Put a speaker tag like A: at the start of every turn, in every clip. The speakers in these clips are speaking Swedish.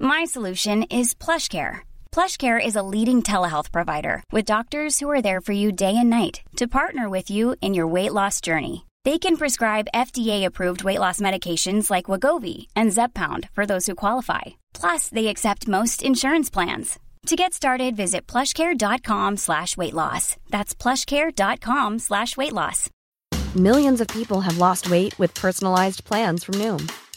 A: My solution is PlushCare. PlushCare is a leading telehealth provider with doctors who are there for you day and night to partner with you in your weight loss journey. They can prescribe FDA-approved weight loss medications like Wagovi and Zepbound for those who qualify. Plus, they accept most insurance plans. To get started, visit plushcare.com slash weight loss. That's plushcare.com slash weight loss.
B: Millions of people have lost weight with personalized plans from Noom,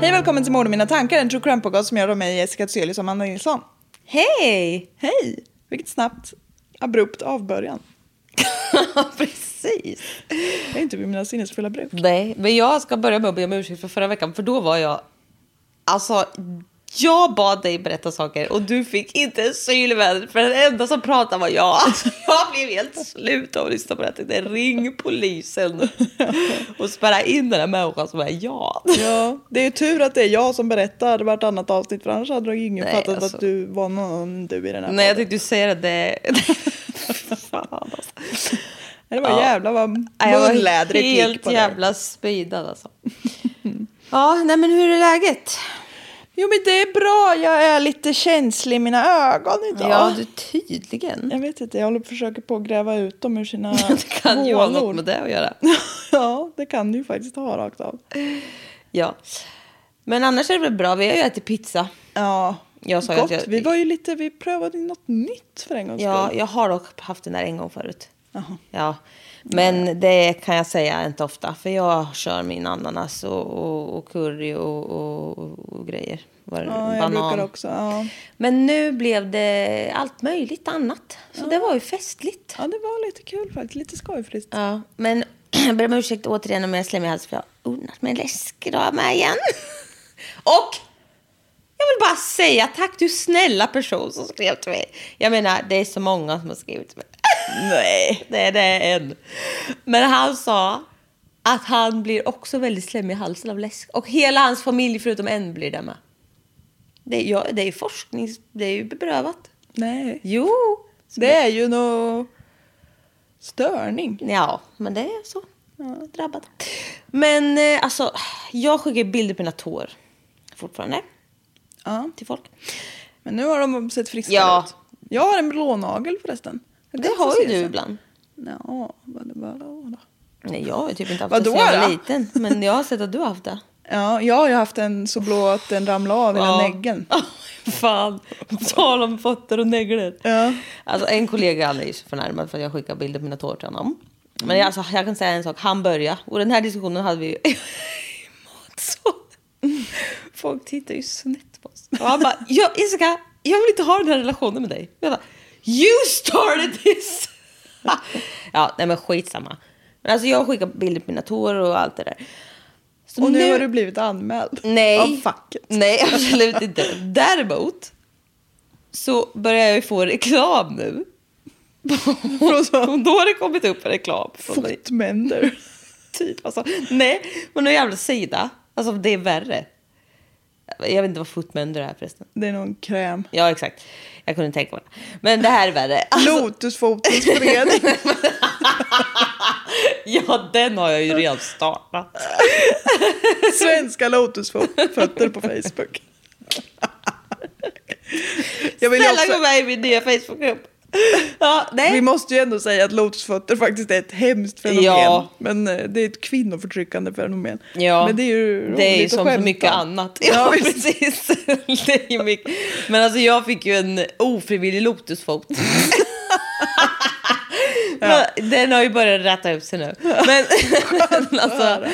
C: Hej välkommen till Mord och mina tankar, en true crime-podcast som jag rör mig Jessica Thyselius och Amanda Nilsson.
D: Hej!
C: Hej! Vilket snabbt, abrupt avbörjan.
D: Precis.
C: Jag är inte vid mina sinnesfulla bruk.
D: Nej, men jag ska börja med att be om ursäkt för förra veckan, för då var jag... Alltså, jag bad dig berätta saker och du fick inte en syl i vädret, för den enda som pratade var jag. Alltså, jag blev helt slut av att lyssna på det här. Tänkte, Ring polisen och spärra in den här människan som är jag.
C: Ja, det är ju tur att det är jag som berättar vartannat avsnitt för annars hade ju ingen
D: Nej,
C: fattat
D: alltså.
C: att du var någon du i den här
D: Nej,
C: podden.
D: jag tänkte du säga det. Fan, alltså.
C: Nej, Det var
D: Ja.
C: jävlar vad
D: Nej, Jag var
C: munlädret gick
D: helt
C: på det.
D: jävla speedad alltså. Ja, nej men hur är läget?
C: Jo men det är bra, jag är lite känslig i mina ögon idag.
D: Ja, du tydligen.
C: Jag vet inte, jag håller försöker på att gräva ut dem ur sina
D: Det kan ju ha något
C: hålor.
D: med det att göra.
C: Ja, det kan du ju faktiskt ha rakt av.
D: Ja. Men annars är det väl bra. Vi har ju ätit pizza.
C: Ja,
D: Jag sa ju
C: gott.
D: att jag-
C: Vi var ju lite, vi prövade ju något nytt för en gångs
D: Ja,
C: skull.
D: jag har dock haft den där en gång förut.
C: Jaha.
D: Ja. Men det kan jag säga inte ofta. För jag kör min ananas och, och, och curry och, och, och grejer. Var,
C: Ja, jag brukar också. Ja.
D: Men nu blev det allt möjligt annat. Så det var ju festligt.
C: ja, det var lite kul faktiskt. Lite skojfritt.
D: Ja, men jag ber om ursäkt återigen om jag slänger halsen för jag har ordnat mig en läskrama med igen. Och jag vill bara säga tack du snälla person som skrev till mig. Jag menar, det är så många som har skrivit till mig. Nej. Nej, det är en. Men han sa att han blir också väldigt slemmig i halsen av läsk. Och hela hans familj förutom en blir det med. Det är, ja, det är ju forsknings... Det är ju beprövat.
C: Nej,
D: Jo.
C: det är ju nå störning.
D: Ja, men det är så. Drabbad. Men eh, alltså, jag skickar bilder på mina tår fortfarande
C: Ja.
D: till folk.
C: Men nu har de sett friskare
D: Ja.
C: ut. Jag har en blånagel förresten.
D: Det,
C: kan
D: har
C: få
D: ju
C: se
D: du
C: sen.
D: ibland.
C: Ja, vadå, vadå, vadå.
D: Nej, jag har ju typ inte haft
C: Vadå
D: det sen jag var
C: då?
D: liten. Men jag har sett att du har haft det.
C: Ja, jag har ju haft en så blå att den ramlade av hela näggen.
D: Fan, på tal om fötter och nägglor.
C: Ja.
D: Alltså, en kollega han är ju så förnärmad för att jag skickar bilder på mina tår till honom. Men jag, alltså, jag kan säga en sak, han började. Och den här diskussionen hade vi ju i matsalen. Folk tittar ju snett på oss. Och han bara, jag, Jessica, jag vill inte ha den här relationen med dig. Jag bara, you started this! ja, nej men skitsamma. Men alltså jag skickar bilder på mina tår och allt det där. Så
C: Och nu, har du blivit anmäld.
D: Nej.
C: Av facket.
D: Nej, absolut inte. Däremot så börjar jag ju få reklam nu. Och då har det kommit upp en reklam. Från mig.
C: Fotmänder.
D: Typ, alltså, nej, men någon jävla sida. Alltså det är värre. Jag vet inte vad footmender är förresten.
C: Det är någon kräm.
D: Ja, exakt. Jag kunde tänka mig det. Men det här är värre. Alltså,
C: Lotusfotens förening.
D: ja, den har jag ju redan startat.
C: Svenska lotusfötter på Facebook. Jag vill ju
D: Snälla gå
C: också,
D: med i min nya Facebookgrupp. Ja, nej.
C: Vi måste ju ändå säga att lotusfötter faktiskt är ett hemskt fenomen.
D: Ja.
C: Men eh, det är ett kvinnoförtryckande fenomen.
D: Ja,
C: Men det är ju roligt
D: det är ju
C: att
D: som så
C: skämta.
D: mycket annat. Ja,
C: Ja, visst.
D: precis. Det är ju mycket. Men alltså jag fick ju en ofrivillig lotusfot. Men Den har ju börjat rätta upp sig nu. Men alltså,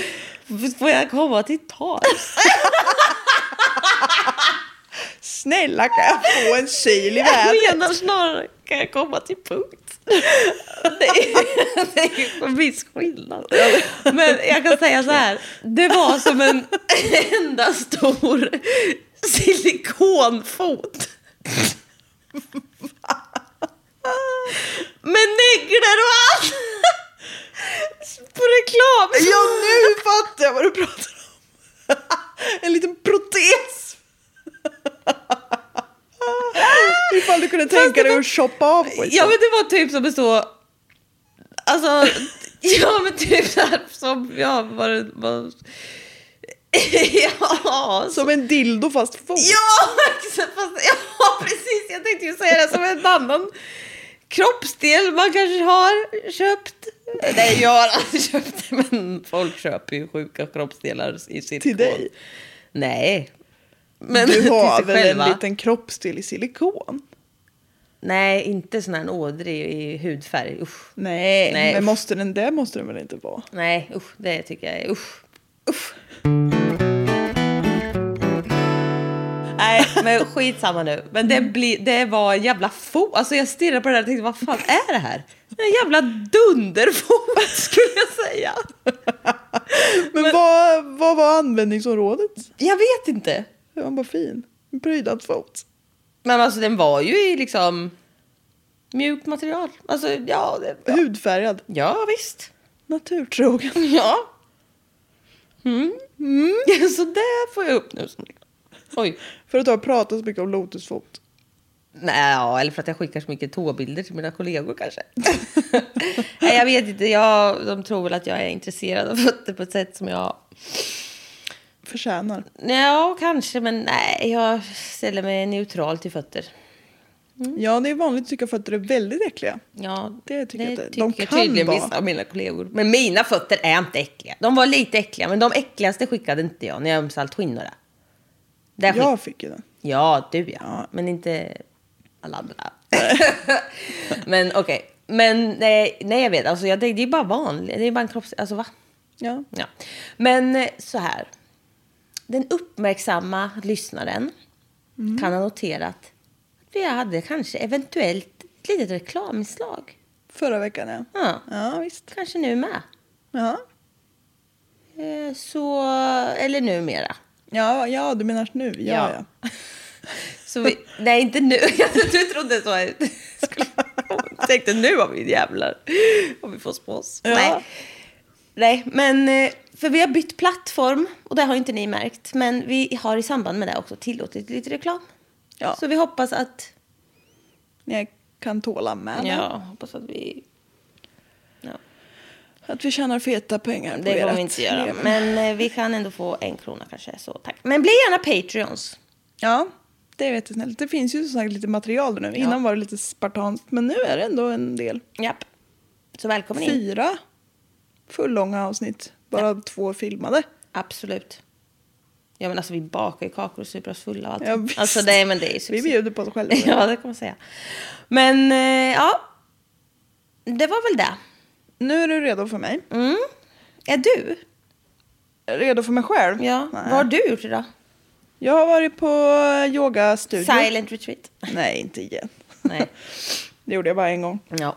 D: får jag komma till tals?
C: Snälla kan jag få en kyl i vädret?
D: Jag menar snarare, kan jag komma till punkt? Det är, det är ju en viss skillnad. Men jag kan säga så här, det var som en enda stor silikonfot. Med nägglor och allt! På reklam!
C: Ja nu fattar jag vad du pratar om. En liten protes. Ifall du kunde tänka dig att shoppa av på ett
D: Ja
C: sätt.
D: men det var typ som en så... Alltså, ja men typ så här som... Ja, var det... Var, ja, så,
C: Som en dildo fast fot.
D: ja, exakt, fast, ja, precis. Jag tänkte ju säga det som en annan kroppsdel man kanske har köpt. Nej, jag har aldrig köpt det, men folk köper ju sjuka kroppsdelar i silikon.
C: Till dig?
D: Nej. Men
C: Du har
D: till sig
C: väl en
D: själva.
C: liten kroppsdel i silikon?
D: Nej, inte sån här ådrig i hudfärg. Usch.
C: Nej,
D: Nej,
C: men
D: usch.
C: måste den, det måste den väl inte vara?
D: Nej, usch, det tycker jag är usch. usch. Nej, men skitsamma nu. Men
C: Mm.
D: det, blir det var en jävla fot. Alltså jag stirrade på det där och tänkte, vad fan är det här? En jävla dunderfot skulle jag säga.
C: Men, vad, vad var användningsområdet?
D: Jag vet inte.
C: Den var bara fin. En prydad fot.
D: Men alltså den var ju i liksom mjukt material. Alltså ja, det, ja.
C: Hudfärgad.
D: ja visst.
C: Naturtrogen.
D: Ja. Mm. Mm. Så det får jag upp nu. som- Oj.
C: För att du har pratat så mycket om lotusfot.
D: Nej, ja, eller för att jag skickar så mycket tåbilder till mina kollegor kanske. Nej, jag vet inte. Jag, de tror väl att jag är intresserad av fötter på ett sätt som jag...
C: Förtjänar.
D: Ja, kanske, men nej. Jag ställer mig neutral till fötter.
C: Ja, det är vanligt att tycka fötter är väldigt äckliga.
D: Ja,
C: Det tycker jag inte.
D: tycker
C: De kan
D: tydligen
C: vara.
D: vissa av mina kollegor. Men mina fötter är inte äckliga. De var lite äckliga, men de äckligaste skickade inte jag när jag ömsade allt Där skick-
C: Jag fick ju den.
D: Ja, du ja.
C: Ja.
D: Men inte alla andra. men okej. Men nej, nej, jag vet. Alltså, jag, det, det är bara vanligt. Det är bara en kropps... Alltså va?
C: Ja.
D: Ja. Men eh, så här. Den uppmärksamma lyssnaren kan ha noterat att vi hade kanske eventuellt ett litet reklaminslag.
C: Förra veckan ja.
D: Ja.
C: Ja, visst.
D: Kanske nu med.
C: Ja.
D: Eh, Så, eller numera.
C: Ja, ja, du menar nu. Ja, ja.
D: Så vi, nej, inte nu. Du trodde så. Jag skulle- jag tänkte nu har vi jävlar. Om vi får spås.
C: Ja.
D: Nej. nej, men eh, för vi har bytt plattform och det har inte ni märkt. Men vi har i samband med det också tillåtit lite reklam.
C: Ja.
D: Så vi hoppas att...
C: Jag kan tåla med det.
D: Ja, hoppas att vi... Ja,
C: Att vi tjänar feta pengar på
D: det kommer
C: ert
D: vi inte göra.
C: leverne.
D: Men eh, vi kan ändå få en krona kanske. Så tack. Men bli gärna Patreons.
C: Ja, det är jättesnällt. Det finns ju som sagt lite material där nu. Innan var det lite spartanskt, men nu är det ändå en del.
D: Japp. Så välkommen in.
C: Fyra fullånga avsnitt, bara två filmade.
D: Absolut. Ja men alltså vi bakar ju kakor och super oss fulla och allt.
C: Ja, visst.
D: alltså nej men det är ju succé.
C: Vi bjuder på oss själva.
D: Ja det kan man säga. Men eh, ja. Det var väl det.
C: Nu är du redo för mig.
D: Mm. Är du?
C: Redo för mig själv?
D: Ja.
C: Nej.
D: Vad har du gjort idag?
C: Jag har varit på yogastudio.
D: Silent retreat?
C: Nej, inte igen.
D: Nej.
C: Det gjorde jag bara en gång.
D: Ja.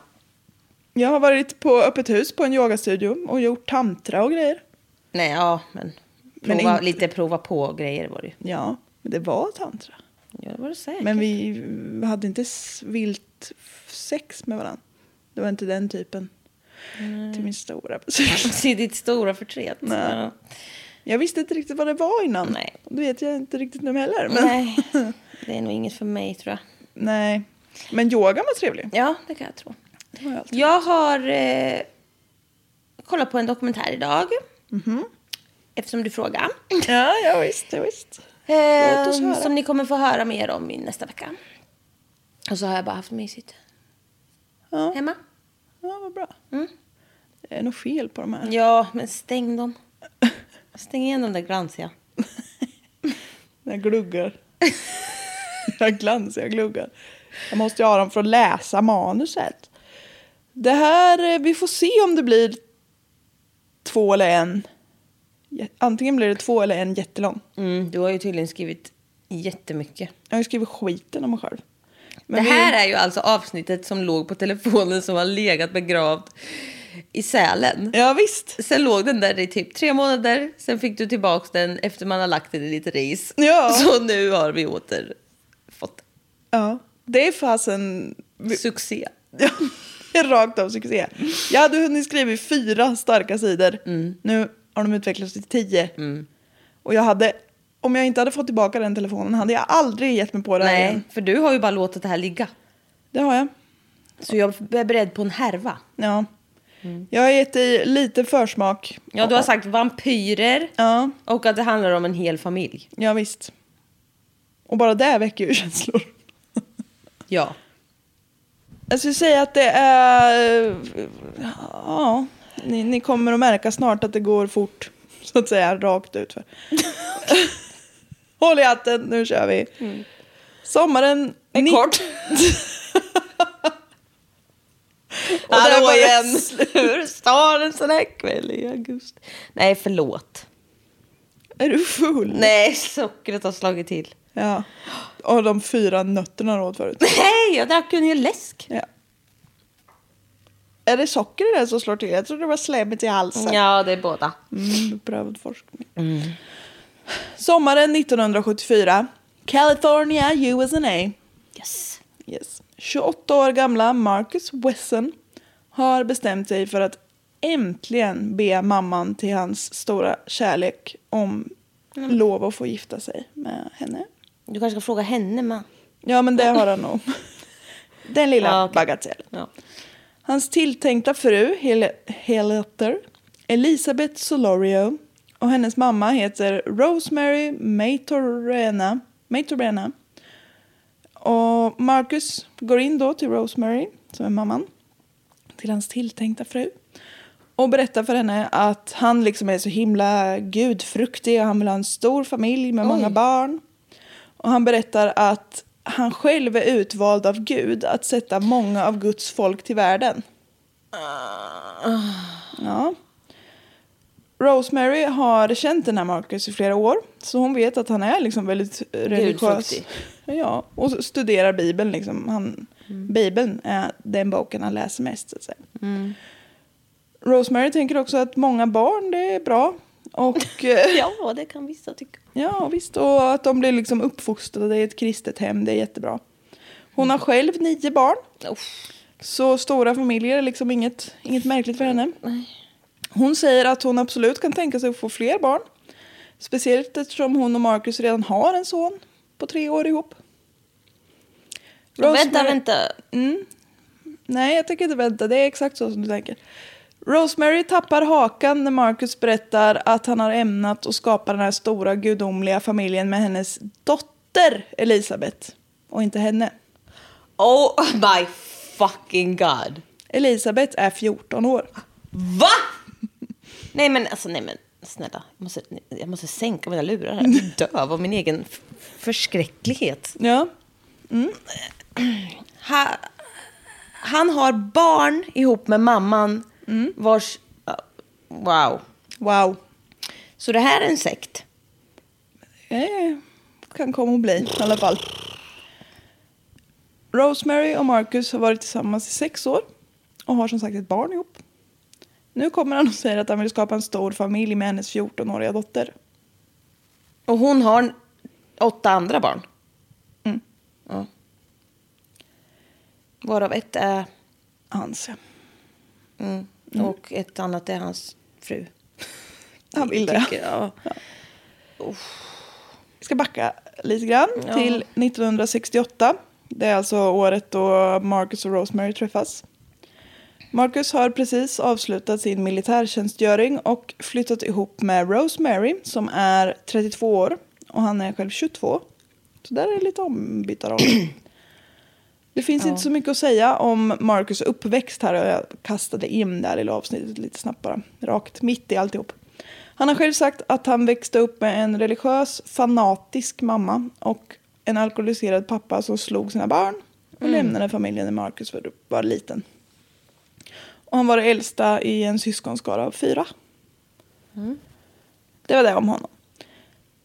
C: Jag har varit på öppet hus på en yogastudio och gjort tantra och grejer.
D: Nej ja men.
C: Men
D: Prova,
C: inte-
D: Lite prova på grejer var det ju.
C: Ja, men det var tantra.
D: Ja det var det säkert.
C: Men vi vi hade inte s- vilt f- sex med varandra. Det var inte den typen. Till min stora besvikelse.
D: Till ditt stora förtret.
C: Nej.
D: Ja.
C: Jag visste inte riktigt vad det var innan.
D: Nej.
C: Det vet jag inte riktigt nu heller. Men...
D: Nej. Det är nog inget för mig tror jag.
C: Nej. Men yogan var trevlig.
D: Ja det kan jag tro.
C: Det var ju allt.
D: Jag har eh, kollat på en dokumentär idag. Mhm. Eftersom du frågar.
C: Ja, ja visst, ja, visst. Låt oss
D: Eh,
C: höra.
D: som ni kommer få höra mer om i nästa vecka. Och så har jag bara haft mysigt.
C: Ja.
D: Hemma?
C: Ja, vad bra. Det är nog fel på de här.
D: Ja, men stäng dem. Stäng igen de där glansiga.
C: När jag gluggar. jag glansar, jag gluggar. Jag måste ju ha dem för att läsa manuset. Det här, eh, vi får se om det blir två eller en. Jä- Antingen blir det två eller en jättelång.
D: Mm, du har ju tydligen skrivit jättemycket.
C: Jag har ju skrivit skiten om mig själv. Men
D: det
C: vi-
D: här är ju alltså avsnittet som låg på telefonen som har legat begravd i Sälen.
C: Ja, visst.
D: Sen låg den där i typ tre månader. Sen fick du tillbaka den efter man har lagt den i lite ris.
C: Ja.
D: Så nu har vi åter fått
C: Ja. Det är fasen... vi-
D: succé.
C: Ja, Rakt av succé. Jag hade hunnit skriva i fyra starka sidor.
D: Mm.
C: Nu har de utvecklats till tio. Och jag hade, om jag inte hade fått tillbaka den telefonen hade jag aldrig gett mig på det här
D: Nej,
C: igen.
D: för du har ju bara låtit det här ligga.
C: Det har jag.
D: Så jag är beredd på en härva.
C: Ja. Jag har gett dig lite försmak.
D: Mm. Ja, du har sagt vampyrer
C: Ja,
D: och att det handlar om en hel familj.
C: ja visst. Och bara det väcker ju känslor.
D: Ja.
C: Jag skulle säga att det är... Ja, ni, ni kommer att märka snart att det går fort. Så att säga, rakt ut. för. Håll i hatten, nu kör vi. Sommaren... Är
D: Mm. kort.
C: Och där var det
D: Hur står en sån här kväll i augusti? Nej, förlåt.
C: Är du full?
D: Nej, sockret har slagit till.
C: Ja. Och de fyra nötterna du åt förut.
D: Nej, jag drack ju en hel läsk.
C: Ja. Är det socker i det som slår till? Jag trodde det var slemmet i halsen.
D: Ja, det är båda.
C: Mm, beprövad forskning. Sommaren 1974. California, USA.
D: Yes.
C: Yes. 28 år gamla Marcus Wesson har bestämt sig för att äntligen be mamman till hans stora kärlek om lov att få gifta sig med henne.
D: Du kanske ska fråga henne med.
C: Ja, men det har han nog. Den lilla
D: Ja, okej.
C: bagatellen.
D: Ja.
C: Hans tilltänkta fru, Hel- Heleter, Elisabeth Solorio och hennes mamma heter Rosemary Maitorena. Maitorena. Och Marcus går in då till Rosemary, som är mamman, till hans tilltänkta fru och berättar för henne att han liksom är så himla gudfruktig och han vill ha en stor familj med många barn. Och han berättar att han själv är utvald av Gud att sätta många av Guds folk till världen. Ja. Rosemary har känt den här Marcus i flera år, så hon vet att han är liksom väldigt religiös.
D: Gudfruktig.
C: Ja, och så studerar Bibeln. Liksom. Han,
D: Mm.
C: Bibeln är den boken han läser mest. Så att säga. Rosemary tänker också att många barn, det är bra. Och, eh,
D: ja, det kan vissa tycka.
C: Ja, visst. Och att de blir liksom uppfostrade i ett kristet hem, det är jättebra. Hon har själv nio barn,
D: Uff.
C: så stora familjer är liksom inget, inget märkligt för henne. Hon säger att hon absolut kan tänka sig att få fler barn. Speciellt eftersom hon och Marcus redan har en son på tre år ihop.
D: Vänta,
C: Rosemary- Mm.
D: vänta.
C: Nej, jag tänker inte vänta. Det är exakt så som du tänker. Rosemary tappar hakan när Marcus berättar att han har ämnat att skapa den här stora gudomliga familjen med hennes dotter Elisabeth och inte henne.
D: Oh my fucking god.
C: Elisabeth är 14 år.
D: Va? Nej men alltså nej men snälla. Jag måste, jag måste sänka mina lurar här. Jag blir döv av min egen f- förskräcklighet.
C: Ja,
D: Ha, han har barn ihop med mamman vars... uh, Wow.
C: wow.
D: Så det här är en sekt.
C: Eh, kan komma att bli i alla fall. Rosemary och Marcus har varit tillsammans i sex år och har som sagt ett barn ihop. Nu kommer han och säger att han vill skapa en stor familj med hennes 14-åriga dotter.
D: Och hon har en- åtta andra barn.
C: Mm.
D: Ja. Varav ett är...
C: Hans, ja.
D: Mm, Och ett annat är hans fru.
C: Han vill det.
D: Tycker jag.
C: Vi ska backa lite grann till 1968. Det är alltså året då Marcus och Rosemary träffas. Marcus har precis avslutat sin militärtjänstgöring och flyttat ihop med Rosemary som är 32 år och han är själv 22. Så där är det lite ombytta roller. Det finns inte så mycket att säga om Marcus uppväxt här och jag kastade in det här lilla avsnittet lite snabbt bara. Rakt mitt i alltihop. Han har själv sagt att han växte upp med en religiös, fanatisk mamma och en alkoholiserad pappa som slog sina barn och lämnade familjen när Marcus var, var liten. Och han var det äldsta i en syskonskara av fyra. Det var det om honom.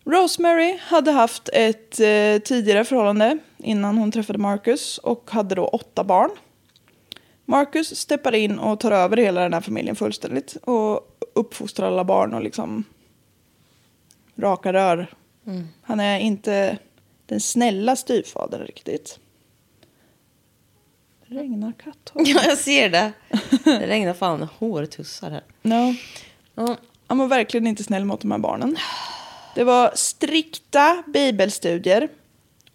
C: Rosemary hade haft ett eh, tidigare förhållande innan hon träffade Marcus och hade då åtta barn. Marcus steppar in och tar över hela den här familjen fullständigt och uppfostrar alla barn och liksom raka rör. Han är inte den snälla styvfadern riktigt. Regnar katthår.
D: Ja, jag ser det. Det regnar fan hårtussar här.
C: No.
D: Ja.
C: Han var verkligen inte snäll mot de här barnen. Det var strikta bibelstudier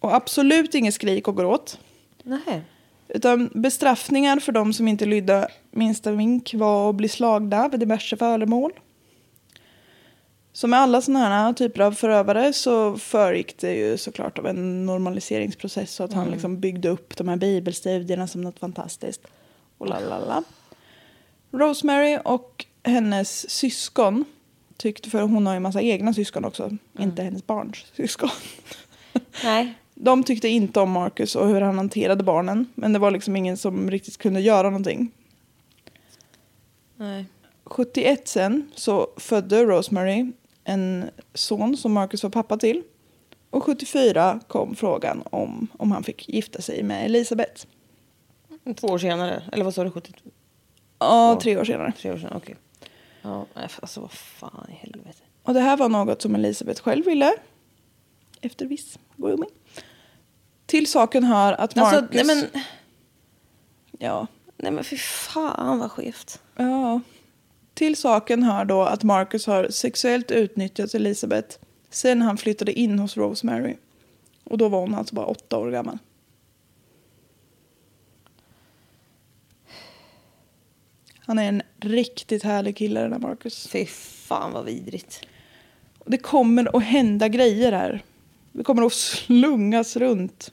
C: och absolut inget skrik och gråt.
D: Nej.
C: Utan bestraffningar för de som inte lydde minsta vink var att bli slagna vid diverse föremål. Så med alla sådana här typer av förövare så föregick det ju såklart av en normaliseringsprocess så att han liksom byggde upp de här bibelstudierna som något fantastiskt. Och la, la, la. Rosemary och hennes syskon tyckte, för hon har ju massa egna syskon också, inte hennes barns syskon.
D: Nej.
C: De tyckte inte om Marcus och hur han hanterade barnen. Men det var liksom ingen som riktigt kunde göra någonting.
D: Nej.
C: 71 sen så födde Rosemary en son som Marcus var pappa till. Och 74 kom frågan om, om han fick gifta sig med Elisabeth.
D: Två år senare. Eller vad sa du? 72?
C: Ja, tre år senare.
D: Tre år senare, okej. Ja, nej, för- alltså vad fan i helvete.
C: Och det här var något som Elisabeth själv ville. Efter viss grooming. Till saken hör att Marcus...
D: Alltså, nej men,
C: Ja,
D: nej men fy fan vad skevt.
C: Ja. Till saken hör då att Marcus har sexuellt utnyttjat Elisabeth sen han flyttade in hos Rosemary. Och då var hon alltså bara åtta år gammal. Han är en riktigt härlig kille den här Marcus.
D: Fy fan vad vidrigt.
C: Det kommer att hända grejer här. Vi kommer att slungas runt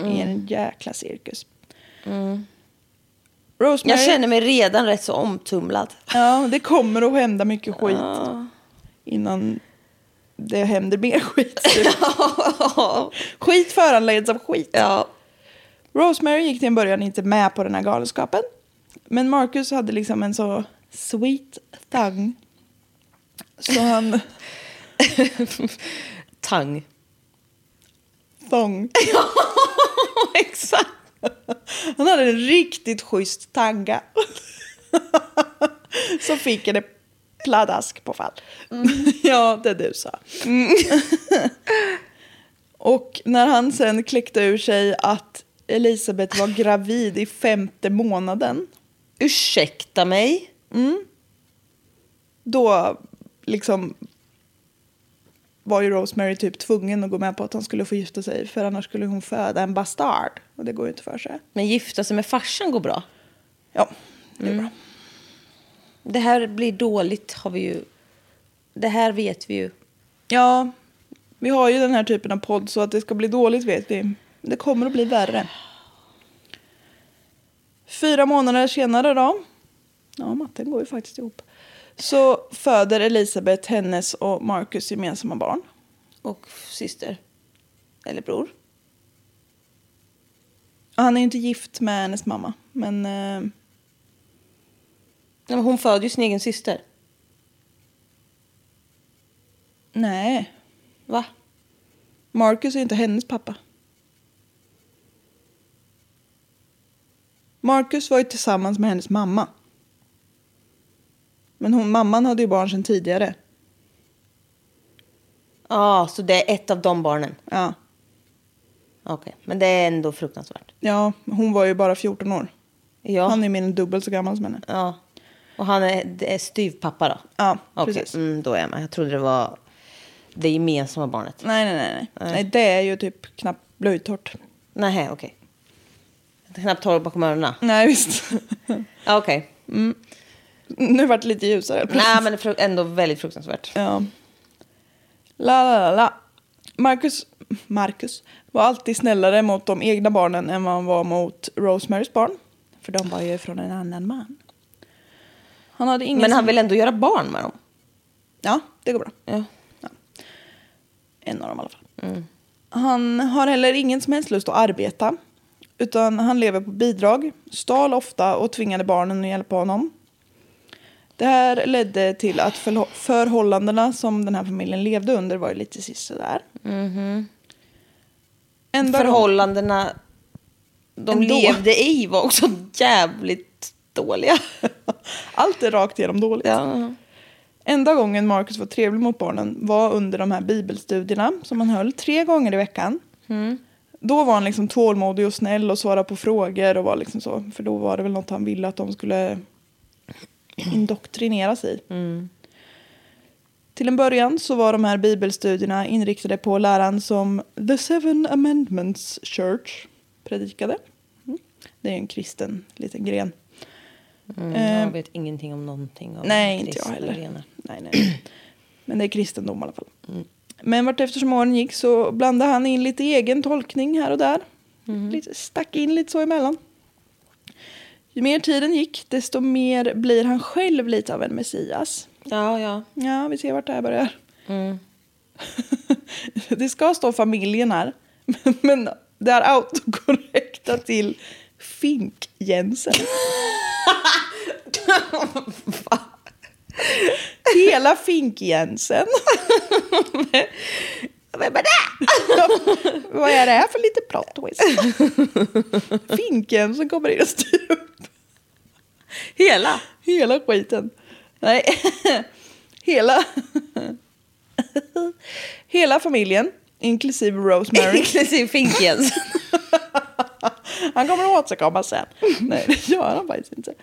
C: i en jäkla cirkus. Rosemary,
D: Jag känner mig redan rätt så omtumlad.
C: Ja, det kommer att hända mycket skit innan det händer mer skit. typ. skit föranleds av skit.
D: Ja.
C: Rosemary gick till en början inte med på den här galenskapen. Men Marcus hade liksom en så sweet thang. Så han...
D: Tang.
C: Thong.
D: Exakt.
C: Han hade en riktigt schysst tanga. Som fick henne pladask på fall. ja, det du sa. Och när han sen kläckte ur sig att Elisabeth var gravid i femte månaden.
D: Ursäkta mig.
C: Då liksom var ju Rosemary typ tvungen att gå med på att han skulle få gifta sig. För annars skulle hon föda en bastard. Och det går ju inte för sig.
D: Men gifta sig med farsan går bra.
C: Ja, det
D: Mm.
C: är bra.
D: Det här blir dåligt har vi ju. Det här vet vi ju.
C: Ja, vi har ju den här typen av podd så att det ska bli dåligt vet vi. Det kommer att bli värre. Fyra månader senare då. Ja, matten går ju faktiskt ihop. Så föder Elisabeth hennes och Marcus gemensamma barn.
D: Och syster. Eller bror.
C: Och han är ju inte gift med hennes mamma. Men eh,
D: Nej, men hon föder ju sin egen syster.
C: nej,
D: Va?
C: Marcus är ju inte hennes pappa. Marcus var ju tillsammans med hennes mamma. Men hon, mamman hade ju barn sedan tidigare.
D: Ja, så det är ett av de barnen.
C: Ja.
D: Okej, men det är ändå fruktansvärt.
C: ja, hon var ju bara 14 år.
D: Ja,
C: Han är mer än dubbelt så gammal som henne.
D: ja. och han är, det är styvpappa då?
C: Ja,
D: Okej,
C: precis.
D: mm, då är jag med. Jag trodde det var det gemensamma barnet.
C: Nej, nej, nej, nej. Nej, det är ju typ knappt blöjtorrt.
D: Nej, okej. Jag kan knappt ta det bakom öronen.
C: Nej, visst.
D: Ja, okej.
C: Mm. nu vart det lite ljusare.
D: Nej, men det är fru- ändå väldigt fruktansvärt.
C: Ja. La, la, la, la. Marcus Marcus, var alltid snällare mot de egna barnen än vad han var mot Rosemarys barn. För de var ju från en annan man. Han hade ingen
D: Men han
C: som-
D: vill ändå göra barn med dem.
C: Ja, det går bra.
D: Ja.
C: En av dem i alla fall. Han har heller ingen som helst lust att arbeta. Utan han lever på bidrag, stal ofta och tvingade barnen att hjälpa honom. Det här ledde till att förlo- förhållandena som den här familjen levde under var ju lite sisådär. Mm-hmm. Enda
D: Förhållandena de
C: Ändå.
D: levde i var också jävligt dåliga.
C: Allt är rakt igenom dåligt.
D: ja.
C: Enda gången Marcus var trevlig mot barnen var under de här bibelstudierna som han höll tre gånger i veckan. Då var han liksom tålmodig och snäll och svarade på frågor och var liksom så. För då var det väl något han ville att de skulle indoktrineras i. Till en början så var de här bibelstudierna inriktade på läran som The Seven Amendments Church predikade. Mm. Det är ju en kristen liten gren. Eh,
D: Mm, Jag vet ingenting om någonting. Av
C: Nej,
D: den
C: inte jag
D: kristna
C: heller.
D: grenen.
C: Nej, nej. Men det är kristendom i alla fall.
D: Mm.
C: Men vart eftersom åren gick så blandade han in lite egen tolkning här och där.
D: Mhm.
C: Lite, stack in lite så emellan. Ju mer tiden gick, desto mer blir han själv lite av en Messias.
D: Ja, ja.
C: Ja, vi ser vart det här börjar.
D: Mm.
C: det ska stå familjen här, men det är autokorrekta till Fink-Jensen. Hela Fink-Jensen.
D: Vem är det?
C: Vad är det här för lite plot twist? Fink-Jensen kommer in och styr upp
D: Hela?
C: Hela skiten. Nej. Hela... Hela familjen, inklusive Rosemary.
D: Inklusive Finkens.
C: Han kommer att återkomma sen. Nej, det gör han faktiskt inte.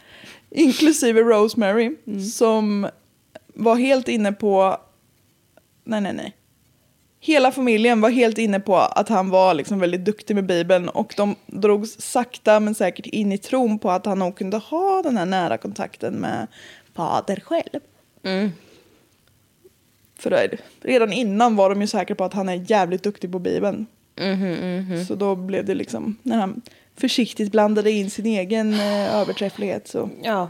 C: Inklusive Rosemary, som var helt inne på... Nej, nej, nej. Hela familjen var helt inne på att han var liksom väldigt duktig med Bibeln och de drogs sakta men säkert in i tron på att han nog kunde ha den här nära kontakten med Fader själv. För då är det- redan innan var de ju säkra på att han är jävligt duktig på Bibeln. Så då blev det liksom, när han försiktigt blandade in sin egen eh, överträfflighet så
D: Ja.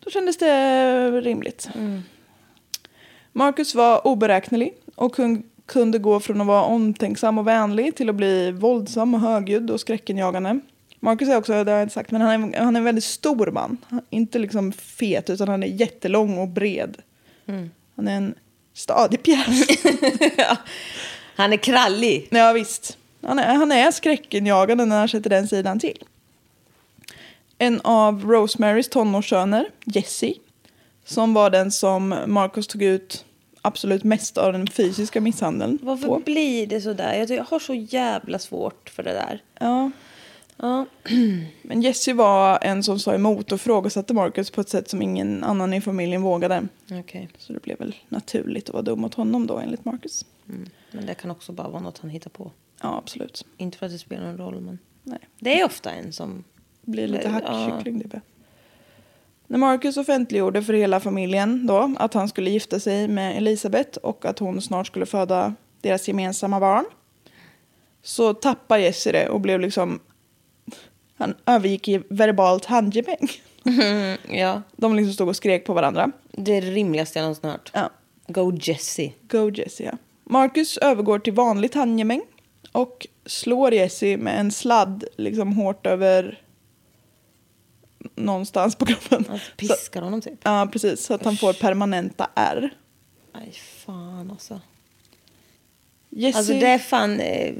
C: då kändes det eh, rimligt. Marcus var oberäknelig och kun, kunde gå från att vara omtänksam och vänlig till att bli våldsam och högljudd och skräckenjagande. Marcus är också, det har jag inte sagt, men han är, han är en väldigt stor man. Han, inte liksom fet, utan han är jättelång och bred. Han är en stadig pjäs.
D: Han är krallig.
C: Ja visst. Han är, han är skräckenjagande när han sätter den sidan till. En av Rosemarys tonårssöner, Jesse, som var den som Marcus tog ut absolut mest av den fysiska misshandeln
D: Varför
C: på.
D: blir det så där? Jag, tycker- jag har så jävla svårt för det där.
C: Ja.
D: Ja.
C: Men Jesse var en som sa emot och frågasatte Marcus på ett sätt som ingen annan i familjen vågade.
D: Okej.
C: Så det blev väl naturligt att vara dum mot honom då enligt Marcus.
D: Men det kan också bara vara något han hittar på.
C: Ja, absolut.
D: Inte för att det spelar någon roll, men...
C: Nej.
D: Det är ofta en som...
C: blir lite
D: Ja.
C: hackkyckling det. När Marcus offentliggjorde för hela familjen då att han skulle gifta sig med Elisabeth och att hon snart skulle föda deras gemensamma barn så tappade Jesse det och blev liksom... Han övergick i verbalt handgemäng.
D: Ja.
C: De liksom stod och skrek på varandra.
D: Det är det rimligaste jag någonsin hört.
C: Ja.
D: Go Jesse.
C: Go Jesse, ja. Marcus övergår till vanligt handgemäng och slår Jesse med en sladd liksom hårt över någonstans på kroppen.
D: Han
C: Så-
D: Alltså, piskar honom typ.
C: Ja, precis. Så att han får permanenta R.
D: Aj, fan alltså.
C: Jesse,
D: Alltså det är fan... Eh,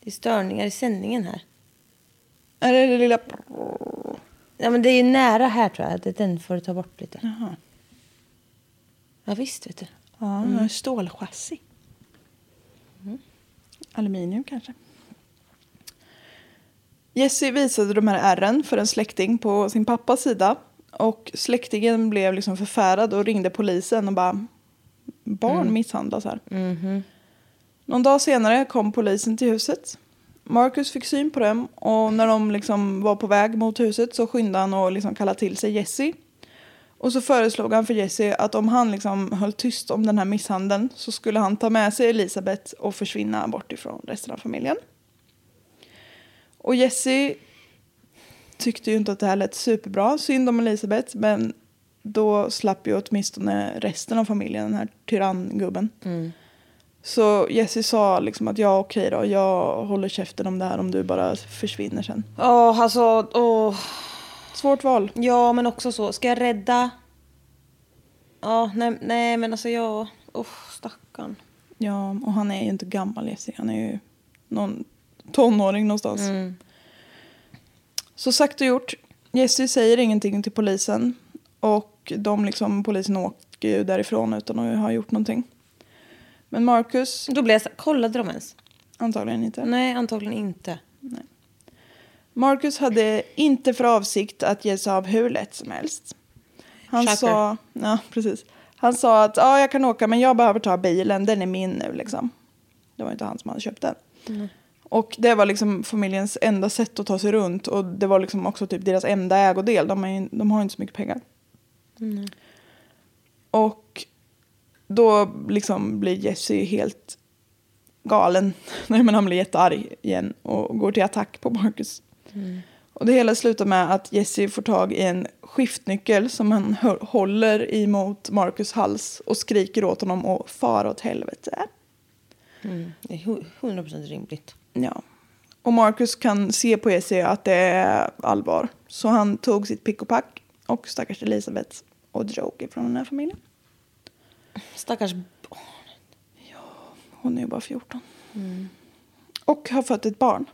D: det är störningar i sändningen här.
C: Är det det lilla...
D: Ja, men det är ju nära här tror jag. Det, den får du ta bort lite.
C: Jaha.
D: Ja, visst vet du.
C: Ja, stålchassi. Aluminium kanske. Jesse visade de här ärren för en släkting på sin pappas sida. Och släktingen blev liksom förfärad och ringde polisen och bara barn misshandlas här. Någon dag senare kom polisen till huset. Marcus fick syn på dem och när de liksom var på väg mot huset så skyndade han och liksom kallade till sig Jesse. Och så föreslog han för Jesse att om han liksom höll tyst om den här misshandeln så skulle han ta med sig Elisabeth och försvinna bort ifrån resten av familjen. Och Jesse tyckte ju inte att det här lät superbra, synd om Elisabeth, men då slapp ju åtminstone resten av familjen den här tyranngubben. Så Jesse sa liksom att ja, okej då, jag håller käften om det här om du bara försvinner sen.
D: Åh, alltså, åh.
C: Svårt val.
D: Ja, men också så. Ska jag rädda? Ja, nej, nej men alltså jag... Åh, stackarn.
C: Ja, och han är ju inte gammal Jesse. Han är ju någon tonåring någonstans. Så sagt och gjort. Jesse säger ingenting till polisen. Och de liksom, polisen åker ju därifrån utan att ha gjort någonting. Men Marcus,
D: Då blev jag så här, kollade de ens?
C: antagligen inte.
D: Nej, antagligen inte.
C: Marcus hade inte för avsikt att ge sig av hur lätt som helst. Han
D: Shocker.
C: sa, ja, precis. Han sa att ja, jag kan åka men jag behöver ta bilen, den är min nu liksom. Det var inte han som hade köpt den. Och det var liksom familjens enda sätt att ta sig runt och det var liksom också typ deras enda ägodel. De, är, ju- de har ju inte så mycket pengar. Och då liksom blir Jesse helt galen. Nej, men han blir jättearg igen och går till attack på Marcus. Och det hela slutar med att Jesse får tag i en skiftnyckel som han hö- håller emot Marcus hals och skriker åt honom att fara åt helvete.
D: Det är hu- 100% rimligt.
C: Ja. Och Marcus kan se på Jesse att det är allvar. Så han tog sitt pick och pack och stackars Elisabeth och drog ifrån den här familjen.
D: Stackars... åh,
C: Hon är ju bara 14. Och har fött ett barn.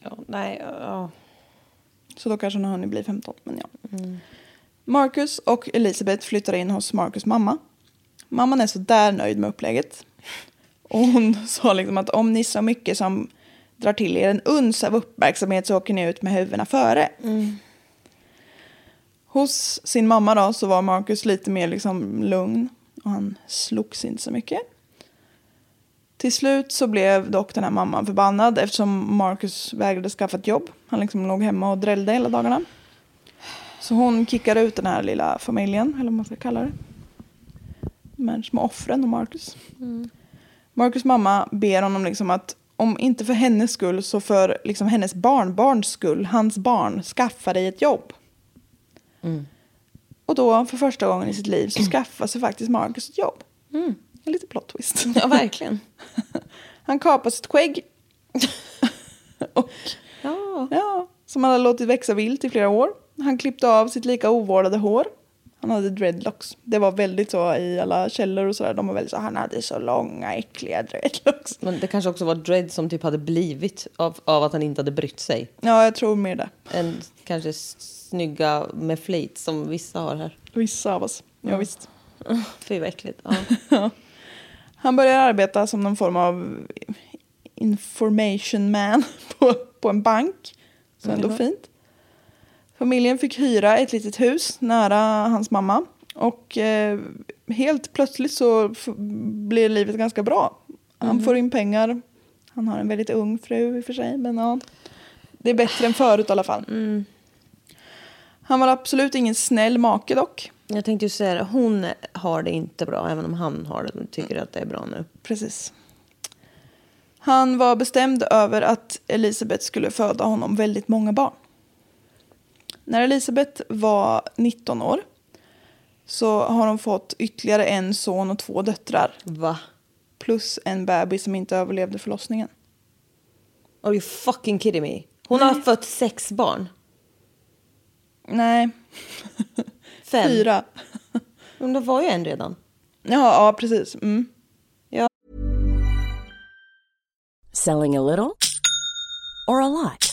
D: Ja, nej, ja.
C: Så då kanske hon har hunnit bli 15. Men ja. Marcus och Elisabeth flyttar in hos Marcus mamma. Mamman är så där nöjd med upplägget. Och hon sa liksom att om ni så mycket som drar till er en uns av uppmärksamhet så åker ni ut med huvudena före. Hos sin mamma då så var Marcus lite mer liksom lugn och han slogs inte så mycket. Till slut så blev dock den här mamman förbannad eftersom Marcus vägrade skaffa ett jobb. Han liksom låg hemma och drällde hela dagarna. Så hon kickade ut den här lilla familjen, eller vad man ska kalla det. De här små offren och Marcus. Marcus mamma ber honom liksom att om inte för hennes skull så för liksom hennes barnbarns skull, hans barn, skaffa dig ett jobb. Och då för första gången i sitt liv så skaffar sig faktiskt Marcus ett jobb. En liten plot twist.
D: ja verkligen.
C: Han kapar sitt skägg. och,
D: Ja.
C: ja, som han hade låtit växa vilt i flera år. Han klippte av sitt lika ovårdade hår. Han hade dreadlocks. Det var väldigt så i alla källor och sådär. De var väldigt så han hade så långa äckliga dreadlocks.
D: Men det kanske också var Dread som typ hade blivit av, av att han inte hade brytt sig.
C: Ja, jag tror mer det.
D: En kanske s- snygga med flit som vissa har här.
C: Vissa av oss. Ja, visst.
D: Fy vad äckligt. Ja.
C: Han började arbeta som någon form av information man på, på en bank. Så ändå fint. Familjen fick hyra ett litet hus nära hans mamma. Och eh, helt plötsligt så f- blir livet ganska bra. Han får in pengar. Han har en väldigt ung fru i och för sig. Men ja, det är bättre än förut i alla fall. Han var absolut ingen snäll make dock.
D: Jag tänkte ju säga det, hon har det inte bra även om han har det och tycker att det är bra nu.
C: Precis. Han var bestämd över att Elisabeth skulle föda honom väldigt många barn. När Elisabeth var 19 år så har hon fått ytterligare en son och två döttrar
D: Va?
C: plus en bebis som inte överlevde förlossningen.
D: Are you fucking kidding me? Hon har fött sex barn.
C: Nej,
D: Fem.
C: fyra.
D: Men det var ju en redan.
C: Ja, ja precis. Mm.
E: Selling a little or a lot?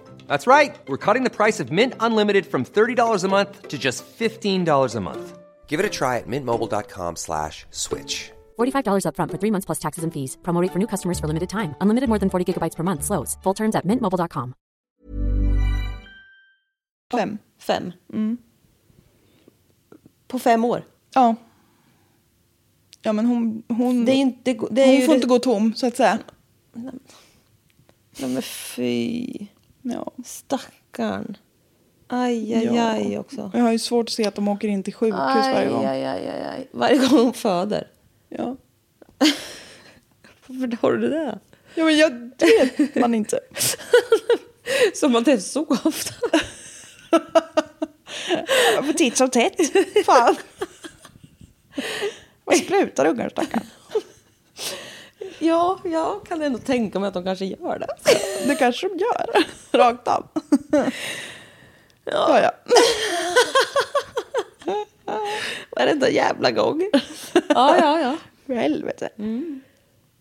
F: That's right. We're cutting the price of Mint Unlimited from $30 a month to just $15 a month. Give it a try at mintmobile.com slash switch.
G: $45 upfront for three months plus taxes and fees. Promo rate for new customers for limited time. Unlimited more than 40 gigabytes per month. Slows. Full terms at mintmobile.com.
C: Fem.
D: Fem. Mm. På fem år.
C: Ja. Ja men hon, hon,
D: Det är inte... Det är
C: hon
D: ju
C: får
D: det-
C: inte gå tom så att säga.
D: Nej, men fy.
C: Ja.
D: Stackarn. Aj, aj,
C: Ja.
D: aj också.
C: Jag har ju svårt att se att de åker in till sjukhus varje
D: Aj,
C: gång.
D: aj, aj, aj, aj. Varje gång hon föder.
C: Ja.
D: Varför har du det?
C: ja men jag det vet man inte.
D: Som att det är så ofta.
C: På titt som tätt. Fan. Vad sprutar ungar stackarn?
D: Ja, jag kan ändå tänka mig att de kanske gör det.
C: Det kanske de gör. Rakt av. Ja, ja.
D: Varenda jävla gång. Ja, ja, ja.
C: För helvete.
D: Mm.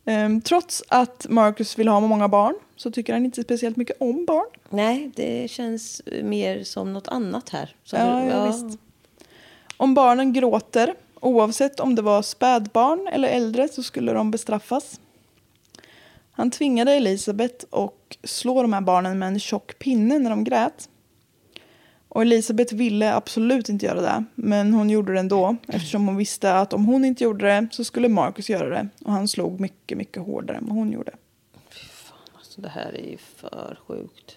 C: Ehm, trots att Marcus vill ha många barn så tycker han inte speciellt mycket om barn.
D: Nej, det känns mer som något annat här. Som
C: Ja, ja, visst. Om barnen gråter, oavsett om det var spädbarn eller äldre, så skulle de bestraffas. Han tvingade Elisabeth och slå de här barnen med en tjock pinne när de grät. Och Elisabeth ville absolut inte göra det, men hon gjorde det ändå eftersom hon visste att om hon inte gjorde det så skulle Marcus göra det. Och han slog mycket, mycket hårdare än vad hon gjorde.
D: Alltså, det här är ju för sjukt.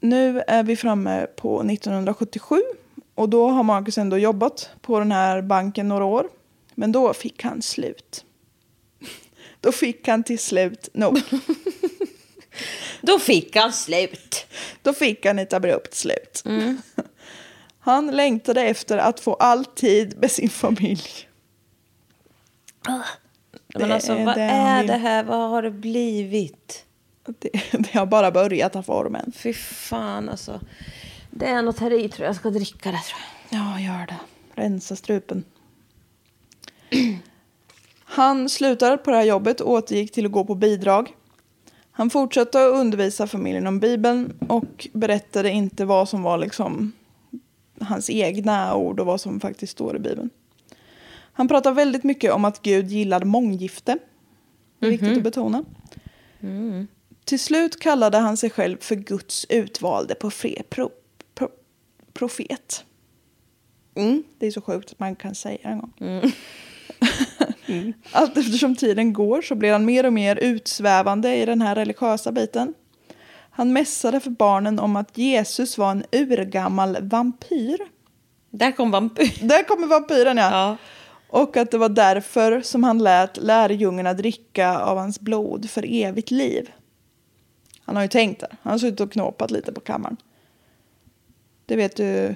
C: Nu är vi framme på 1977 och då har Marcus ändå jobbat på den här banken några år. Men då fick han slut. Då fick han till slut nog.
D: Då fick han slut.
C: Då fick han ett abrupt slut.
D: Mm.
C: Han längtade efter att få all tid med sin familj.
D: Ah, Men
C: Det
D: alltså,
C: är
D: vad
C: det han
D: är
C: vill.
D: det här? Vad har det blivit?
C: Det, det har bara börjat ha formen.
D: Fy fan, alltså. Det är något här i, tror jag. Jag ska dricka det, tror jag.
C: Ja, gör det. Rensa strupen. Han slutade på det här jobbet och återgick till att gå på bidrag. Han fortsatte att undervisa familjen om Bibeln och berättade inte vad som var liksom hans egna ord och vad som faktiskt står i Bibeln. Han pratar väldigt mycket om att Gud gillar månggifte. Det är viktigt att betona. Till slut kallade han sig själv för Guds utvalde på fre, pro, pro, profet. Mm, Det är så sjukt att man kan säga det en gång. Mm. Allt eftersom tiden går så blir han mer och mer utsvävande i den här religiösa biten. Han mässade för barnen om att Jesus var en urgammal vampyr.
D: Där kom vampyr.
C: Där kommer vampyren ja.
D: Ja.
C: Och att det var därför som han lät lärjungarna dricka av hans blod för evigt liv. Han har ju tänkt det. Han har suttit och knåpat lite på kammaren. Det vet du.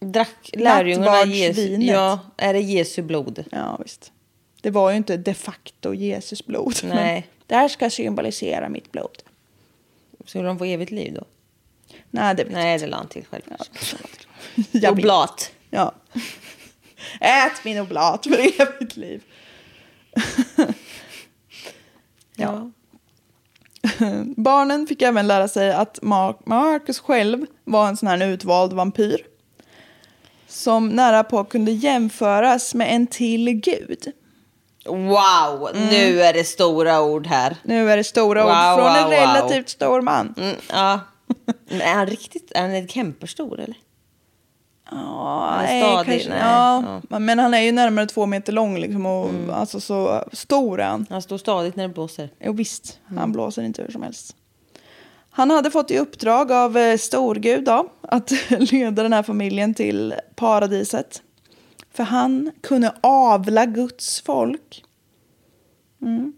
D: Drack lärjungarna Jesu...
C: Nattvardsvinet.
D: Ja, är det Jesu blod?
C: Ja, visst. Det var ju inte de facto Jesus blod. men
D: Nej.
C: Det här ska symbolisera mitt blod.
D: Skulle de få evigt liv då?
C: Nej, det vet jag
D: Nej, det la han till själv.
C: inte.
D: Ja.
C: Jag vet.
D: Oblat.
C: Ja. Ät min oblat för evigt liv.
D: Ja.
C: Barnen fick även lära sig att Mar- Marcus själv var en sån här utvald vampyr. Som nära på kunde jämföras med en till gud.
D: Wow,
C: Mm.
D: nu är det stora ord här.
C: Nu är det stora
D: Wow,
C: ord från en
D: wow, wow.
C: relativt stor man.
D: Mm, ja. Men är han riktigt... Är han kämpestor eller?
C: Ja,
D: Han är
C: nej,
D: stadig,
C: kanske,
D: nej.
C: ja. Men han är ju närmare två meter lång liksom och
D: Mm.
C: alltså så stor är han.
D: Han står stadigt när det blåser.
C: Jo visst,
D: Mm.
C: han blåser inte hur som helst. Han hade fått i uppdrag av eh, storgud då, att leda den här familjen till paradiset. För han kunde avla Guds folk. Mm.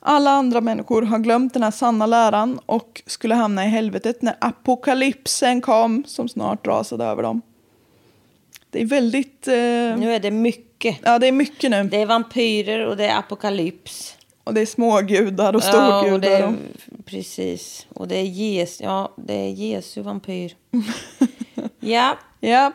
C: Alla andra människor har glömt den här sanna läran och skulle hamna i helvetet när apokalypsen kom som snart rasade över dem. Det är väldigt... Eh,
D: Nu är det mycket.
C: Ja, det är mycket nu.
D: Det är vampyrer och det är apokalyps.
C: Och det är smågudar och
D: Ja, och det
C: storgudar.
D: är,
C: och
D: precis. Och det är Jesu, ja, det är Jesu vampyr. ja,
C: Ja.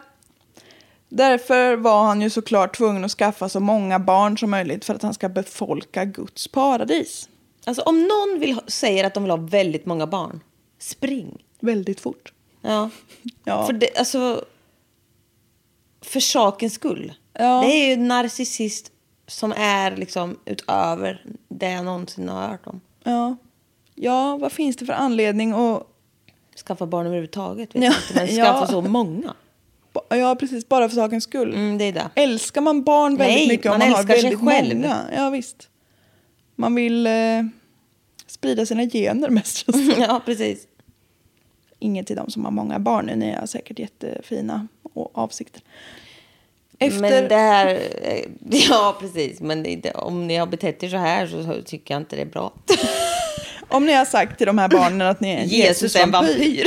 C: Därför var han ju såklart tvungen att skaffa så många barn som möjligt för att han ska befolka Guds paradis.
D: alltså om någon vill, ha- säger att de vill ha väldigt många barn, spring.
C: Väldigt fort.
D: Ja.
C: Ja.
D: För det, alltså... För sakens skull.
C: Ja.
D: Det är ju en narcissist som är liksom utöver det jag någonsin har hört om.
C: Ja. Ja, vad finns det för anledning att...
D: Skaffa barn överhuvudtaget, vet
C: Ja.
D: jag inte. Men
C: Ja.
D: skaffa så många.
C: Ja, precis. Bara för sakens skull.
D: Mm, det är det.
C: Älskar man barn väldigt
D: Nej,
C: mycket om
D: man
C: man har
D: älskar sig
C: väldigt
D: själv.
C: många? Ja, visst. Man vill eh, sprida sina gener mest. känns det.
D: ja, precis.
C: Inget till de som har många barn. Nu ni har säkert jättefina och avsikter.
D: Men det här... eh, Ja, precis. Men det, det, om ni har betett er så här så tycker jag inte det är bra.
C: Om ni har sagt till de här barnen att ni är en
D: Jesus är en vampyr.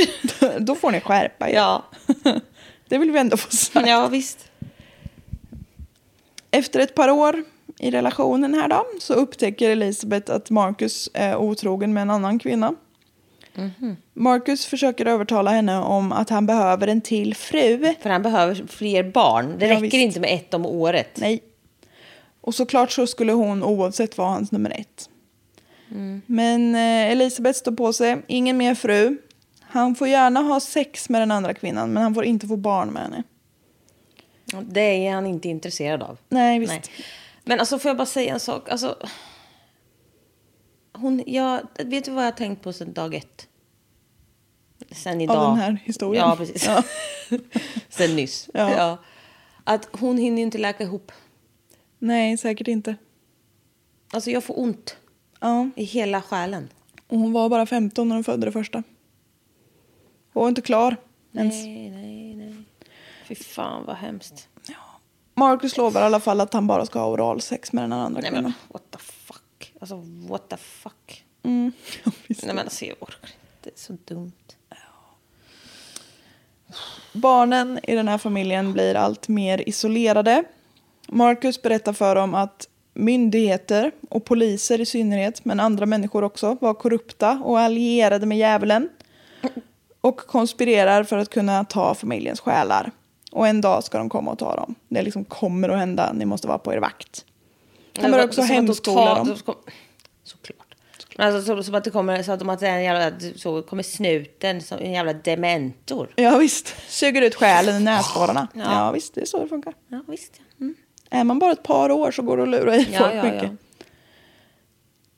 C: Då får ni skärpa er.
D: ja.
C: Det vill vi ändå få sagt.
D: ja, visst.
C: Efter ett par år i relationen här då så upptäcker Elisabeth att Marcus är otrogen med en annan kvinna.
D: Mhm.
C: Marcus försöker övertala henne om att han behöver en till fru.
D: För han behöver fler barn. Det
C: Ja,
D: räcker
C: visst.
D: inte med ett om året.
C: Nej. Och såklart så skulle hon oavsett vara hans nummer ett.
D: Mm.
C: Men eh, Elisabeth står på sig, ingen mer fru. Han får gärna ha sex med den andra kvinnan men han får inte få barn med henne.
D: Det är han inte intresserad av.
C: Nej, visst.
D: Nej. Men alltså får jag bara säga en sak? Alltså, hon, jag, vet du vad jag har tänkt på sedan dag ett? Sen idag.
C: den här historien?
D: Ja, precis.
C: Ja.
D: sen nyss.
C: Ja.
D: Att hon hinner ju inte läka ihop.
C: Nej, säkert inte.
D: Alltså jag får ont
C: Ja.
D: i hela själen.
C: Och hon var bara 15 när hon födde det första. Hon var inte klar ens.
D: Nej, nej, nej. Fy fan vad hemskt.
C: Marcus lovar i alla fall att han bara ska ha oralsex med den här andra
D: Nej
C: kvinnan.
D: men what the fuck. Alltså what the fuck.
C: Mm. Ja, visst.
D: Nej men alltså jag orkar inte. Det är så dumt.
C: Barnen i den här familjen blir allt mer isolerade. Marcus berättar för dem att myndigheter och poliser i synnerhet, men andra människor också, var korrupta och allierade med djävulen. Och konspirerar för att kunna ta familjens själar. Och en dag ska de komma och ta dem. Det liksom kommer att hända, ni måste vara på er vakt. Han
D: Men
C: börjar
D: vad-
C: också
D: som att de
C: hemskola
D: tar-
C: dem.
D: de kom- Såklart. Men alltså, så, som att det kommer, så att de att det är en jävla, så kommer snuten som en jävla dementor.
C: Ja visst, suger ut själen i näsborrarna. Ja.
D: Ja.
C: visst, det är så det funkar.
D: Ja, visst. ja. Mm.
C: Är man bara ett par år så går det att lura i
D: Ja,
C: folk
D: ja,
C: mycket.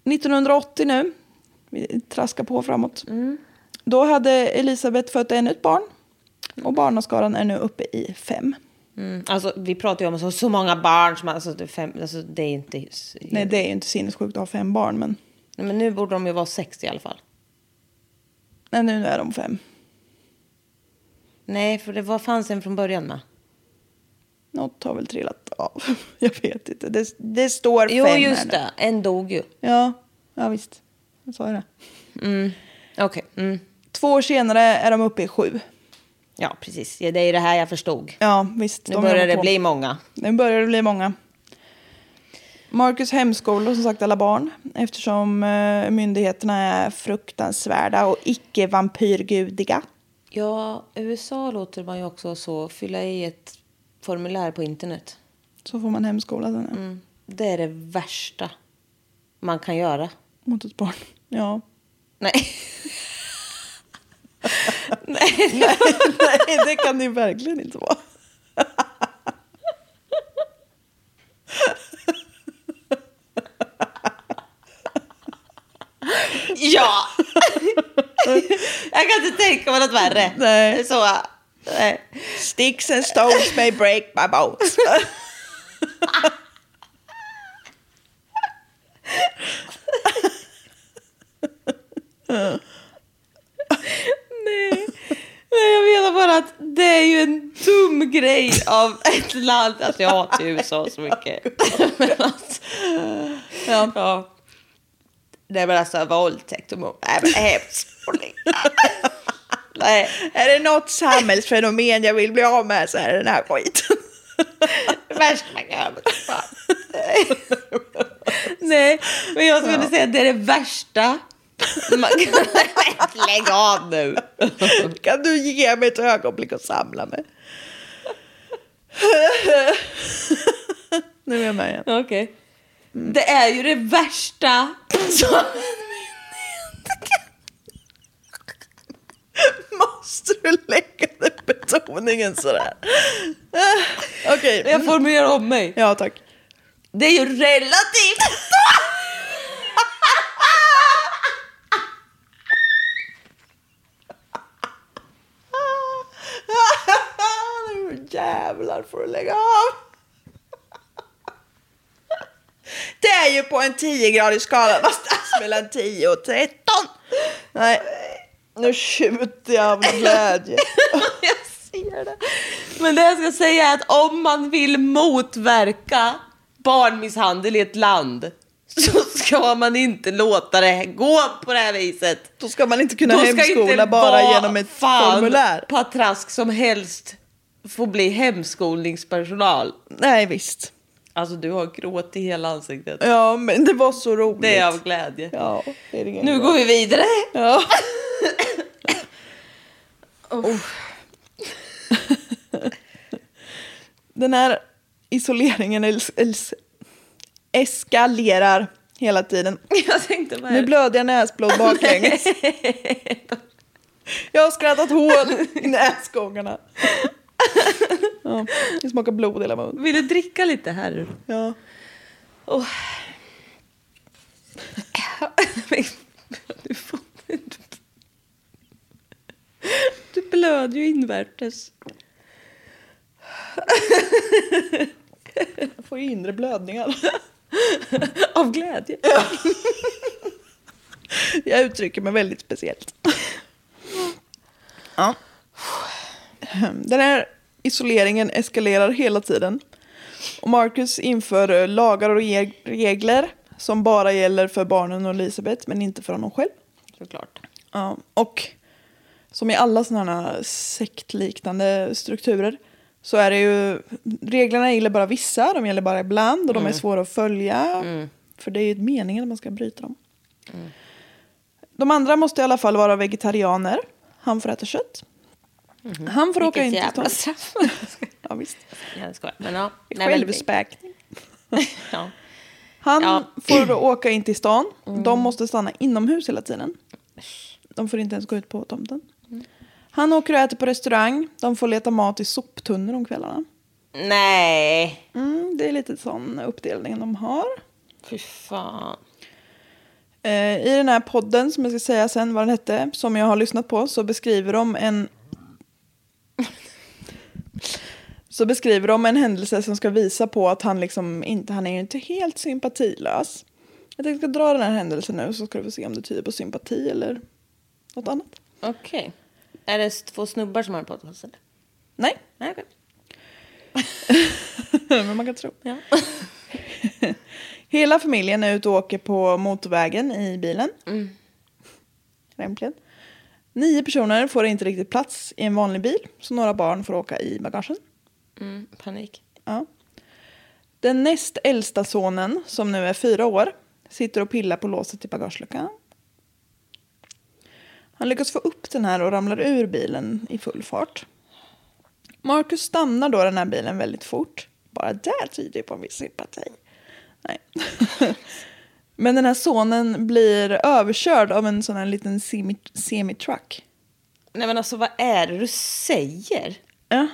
C: 1980 nu, vi traskar på framåt.
D: Mm.
C: Då hade Elisabeth fött ännu ett barn. Och barnaskaran är nu uppe i fem.
D: Mm. Alltså, vi pratar ju om så, så många barn som alltså, det är fem, alltså, det är inte...
C: Nej, det är ju inte sinnessjukt att ha fem barn, men
D: Nej, Men nu borde de ju vara 60 i alla fall.
C: nej, nu är de fem.
D: Nej, för det var, fanns en från början med.
C: Något har väl trillat av. Jag vet inte. Det, det står
D: Jo,
C: fem här
D: just
C: nu.
D: det. En dog ju.
C: Ja, ja visst. Jag sa ju det.
D: Okej. Mm.
C: Två år senare är de uppe i sju.
D: Ja, precis. Ja, det är ju det här jag förstod.
C: Ja, visst.
D: Nu
C: de
D: börjar
C: jobbar
D: det
C: på.
D: bli många.
C: Nu börjar det bli många. Marcus hemskola som sagt alla barn eftersom eh, myndigheterna är fruktansvärda och icke-vampyrgudiga.
D: Ja, USA låter man ju också så fylla i ett formulär på internet.
C: Så får man hemskola sen. ja.
D: Mm. Det är det värsta man kan göra.
C: Mot ett barn. Ja.
D: Nej.
C: Nej, det kan det ju verkligen inte vara.
D: Ja! jag kan inte tänka mig något värre.
C: Nej.
D: Så, nej.
C: Sticks and stones may break my bones.
D: nej, jag menar bara att det är ju en dum grej av ett land. Alltså jag hatar ju USA så mycket. men alltså, ja. ja. Nej men alltså våldtäkt och mord. Nej men hemskt. Nej.
C: är det något samhällsfenomen jag vill bli av med så är det den här skiten.
D: Det värsta man kan göra mot sitt barn.
C: Nej.
D: Men jag skulle säga att det är det värsta man kan... Lägg av nu.
C: Kan du ge mig ett ögonblick och samla mig? nu är jag med igen.
D: Okej. Det är ju det värsta som...
C: Måste du lägga den betoningen sådär? Okej.
D: Jag formulerar om mig.
C: Ja, tack.
D: Det är ju relativt.
C: Nu jävlar får du lägga av. Det är ju på en 10-gradig skala någonstans mellan 10 och 13. Nej, nu tjuter jag av glädje.
D: Jag ser det. Men det jag ska säga är att om man vill motverka barnmisshandel i ett land så ska man inte låta det gå på det här viset.
C: Då ska man inte kunna
D: Då ska
C: hemskola
D: inte
C: bara
D: vad
C: genom ett
D: fan
C: formulär.
D: patrask som helst få bli hemskolningspersonal.
C: Nej, visst.
D: Alltså du har gråt i hela ansiktet.
C: Ja, men det var så roligt.
D: Det är av glädje.
C: Ja, det är ingen
D: Nu går vi vidare.
C: Ja. Den här isoleringen els- els- eskalerar hela tiden.
D: Jag tänkte bara...
C: Nu blöder jag näsblod baklänges. Jag har skrattat hål i näsgångarna. Ja, det smakar blod i hela munnen.
D: Vill du dricka lite här?
C: Ja.
D: Oh. Du, får... du blöder ju invärtes.
C: Jag får ju inre blödningar.
D: Av glädje.
C: Jag uttrycker mig väldigt speciellt. Ja. Den här isoleringen eskalerar hela tiden. Och Marcus inför eh, lagar och reg- regler som bara gäller för barnen och Elisabeth men inte för honom själv.
D: Såklart.
C: Ja. Och som i alla sådana här sektliknande strukturer så är det ju reglerna gäller bara vissa, de gäller bara ibland
D: Mm.
C: och de är svåra att följa. För det är ju meningen att man ska bryta dem.
D: Mm.
C: De andra måste i alla fall vara vegetarianer. Han får äta kött. Han får åka in
D: Mhm. Vilket
C: till
D: jävla
C: stan.
D: straff.
C: Ja, visst.
D: Jag skojar. Men ja. Nej, men-
C: Självspäkning.
D: Ja.
C: Han
D: Ja. Mm.
C: får åka in till stan. De måste stanna inomhus hela tiden. De får inte ens gå ut på tomten.
D: Mm.
C: Han åker och äter på restaurang. De får leta mat i soptunnor om kvällarna.
D: Nej.
C: Mm, det är lite sån uppdelning de har.
D: Fy fan.
C: Eh, I den här podden, som jag ska säga sen vad den hette, som jag har lyssnat på, så beskriver de en... så beskriver de en händelse som ska visa på att han liksom inte, han är ju inte helt sympatilös. Jag tänkte jag ska dra den här händelsen nu så ska du få se om det tyder på sympati eller något annat.
D: Okej. Är det två snubbar som har en podcast? Eller?
C: Nej,
D: Nej, okej.
C: men man kan tro.
D: Ja.
C: Hela familjen är ute och åker på motorvägen i bilen. Mm. Lämpligen. Nio personer får inte riktigt plats i en vanlig bil, så några barn får åka i bagagen.
D: Mm, panik.
C: Ja. Den näst äldsta sonen, som nu är fyra år, sitter och pillar på låset i bagageluckan. Han lyckas få upp den här och ramlar ur bilen i full fart. Marcus stannar då den här bilen väldigt fort. Bara där tyder ju på en viss sympati. Nej. Men den här sonen blir överkörd av en sån här liten semi- semi-truck.
D: Nej men alltså vad är det du säger?
C: Ja.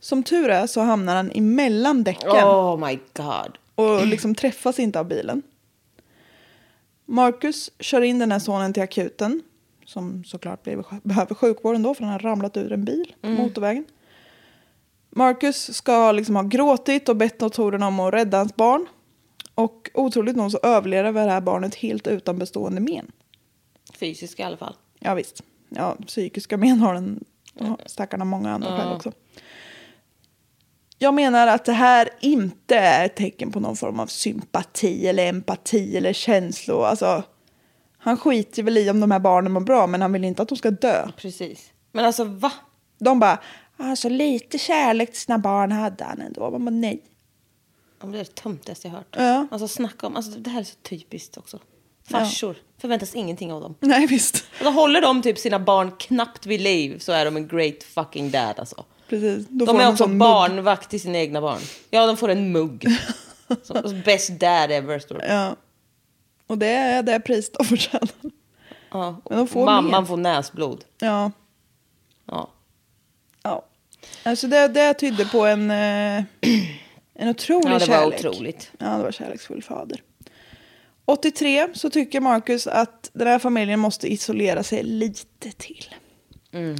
C: Som tur är så hamnar han emellan däcken.
D: Oh my god.
C: och liksom träffas inte av bilen. Marcus kör in den här sonen till akuten som såklart blev, behöver sjukvården då för han har ramlat ur en bil på motorvägen. Marcus ska liksom ha gråtit och bett doktorn om att rädda hans barn. Och otroligt nog så överlever det här barnet helt utan bestående men.
D: Fysisk i alla fall.
C: Ja visst. Ja, psykiska men har den har stackarna många andra skäl också. Jag menar att det här inte är ett tecken på någon form av sympati eller empati eller känslor. Alltså, han skiter väl i om de här barnen mår bra men han vill inte att de ska dö.
D: Precis. Men alltså va?
C: De bara, Alltså lite kärlek till sina barn hade han ändå. Man bara, nej.
D: Ja, men Det är det töntigaste jag hört.
C: Ja.
D: Alltså snacka om, alltså det här är så typiskt också. Farsor förväntas ingenting av dem.
C: Nej, visst.
D: Alltså håller de typ sina barn knappt vid liv så är de en great fucking dad alltså.
C: Precis. Då får
D: De
C: man
D: är
C: en
D: också
C: sån mugg.
D: barnvakt till sina egna barn. Ja, de får en mugg. Som- alltså, Best dad ever står det.
C: Ja. Och det är det pris de förtjänar.
D: Ja.
C: Men de får
D: Mamman
C: mer.
D: får näsblod.
C: Ja.
D: Ja.
C: ja. Alltså det, det tydde på en, eh, en otrolig
D: Ja, det var
C: kärlek.
D: otroligt.
C: Ja, det var kärleksfull fader. 83 så tycker Marcus att den här familjen måste isolera sig lite till.
D: Mm.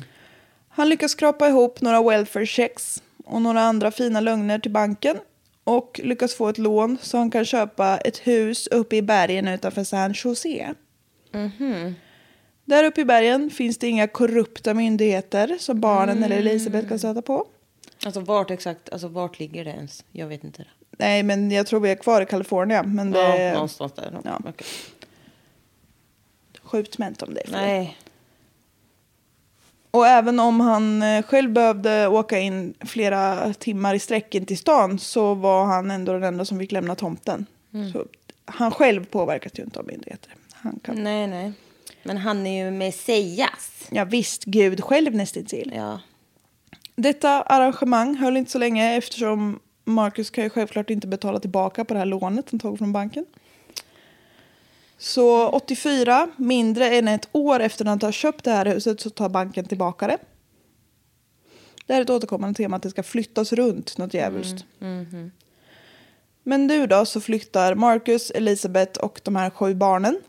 C: Han lyckas skrapa ihop några welfare checks och några andra fina lögner till banken och lyckas få ett lån så han kan köpa ett hus uppe i bergen utanför San Jose.
D: Mm-hmm.
C: Där uppe i bergen finns det inga korrupta myndigheter som barnen eller Elisabeth
D: Mm.
C: kan stöta på.
D: Alltså vart exakt, alltså vart ligger det ens? Jag vet inte. Det.
C: Nej, men jag tror vi är kvar i Kalifornien. Men det
D: Ja,
C: är
D: någonstans där.
C: Ja.
D: Okej.
C: sjukt ment om det. är fel.
D: Nej.
C: Och även om han eh, själv behövde åka in flera timmar i sträcken till stan så var han ändå den enda som fick lämna tomten. Så han själv påverkas ju inte av myndigheter. Han kan...
D: nej, nej. Men han är ju Messias.
C: Ja visst, Gud själv nästintill.
D: Ja.
C: Detta arrangemang höll inte så länge eftersom Marcus kan ju självklart inte betala tillbaka på det här lånet han tog från banken. Så 84, mindre än ett år efter att han har köpt det här huset så tar banken tillbaka det. Det här är ett återkommande tema att det ska flyttas runt något djävulskt. Men nu då så flyttar Marcus, Elisabeth och de här sju barnen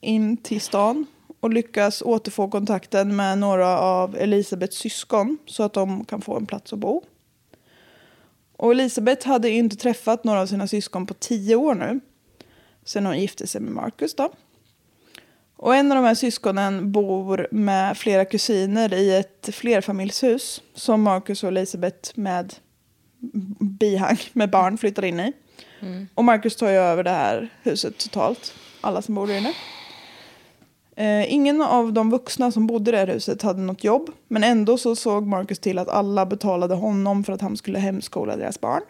C: in till stan och lyckas återfå kontakten med några av Elisabeths syskon så att de kan få en plats att bo. Och Elisabeth hade ju inte träffat några av sina syskon på tio år nu. Sen hon gifte sig med Marcus då. Och en av de här syskonen bor med flera kusiner i ett flerfamiljshus som Marcus och Elisabeth med bihang med barn flyttar in i. Och Marcus tar ju över det här huset totalt, alla som bor där inne. Eh, ingen av de vuxna som bodde i det här huset hade något jobb men ändå så såg Marcus till att alla betalade honom för att han skulle hemskola deras barn.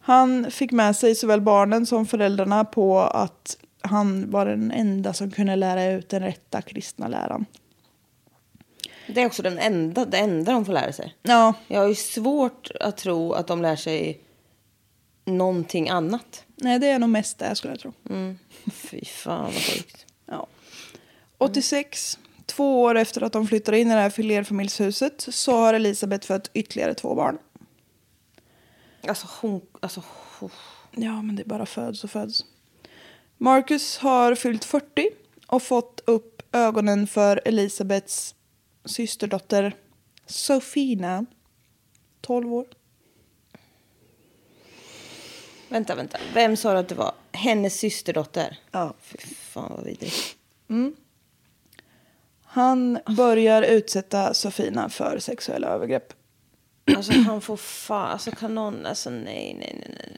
C: Han fick med sig såväl barnen som föräldrarna på att han var den enda som kunde lära ut den rätta kristna läran.
D: Det är också den enda, det enda de får lära sig.
C: Ja,
D: Jag har ju svårt att tro att de lär sig någonting annat.
C: nej det är nog mest det skulle jag tro.
D: Fy fan vad sjukt.
C: Ja. 86, två år efter att de flyttar in i det här flerfamiljshuset så har Elisabeth fött ytterligare två barn.
D: Alltså hon, alltså hon.
C: Ja, men det är bara föds och föds. Marcus har fyllt 40 och fått upp ögonen för Elisabeths systerdotter Sofina, 12 år.
D: Vänta, vänta. Vem sa du att det var? Hennes systerdotter?
C: Ja.
D: Fy fan vad vidrigt.
C: Han börjar utsätta Sofina för sexuella övergrepp.
D: Alltså han får fan, alltså kan någon, alltså nej, nej, nej, nej.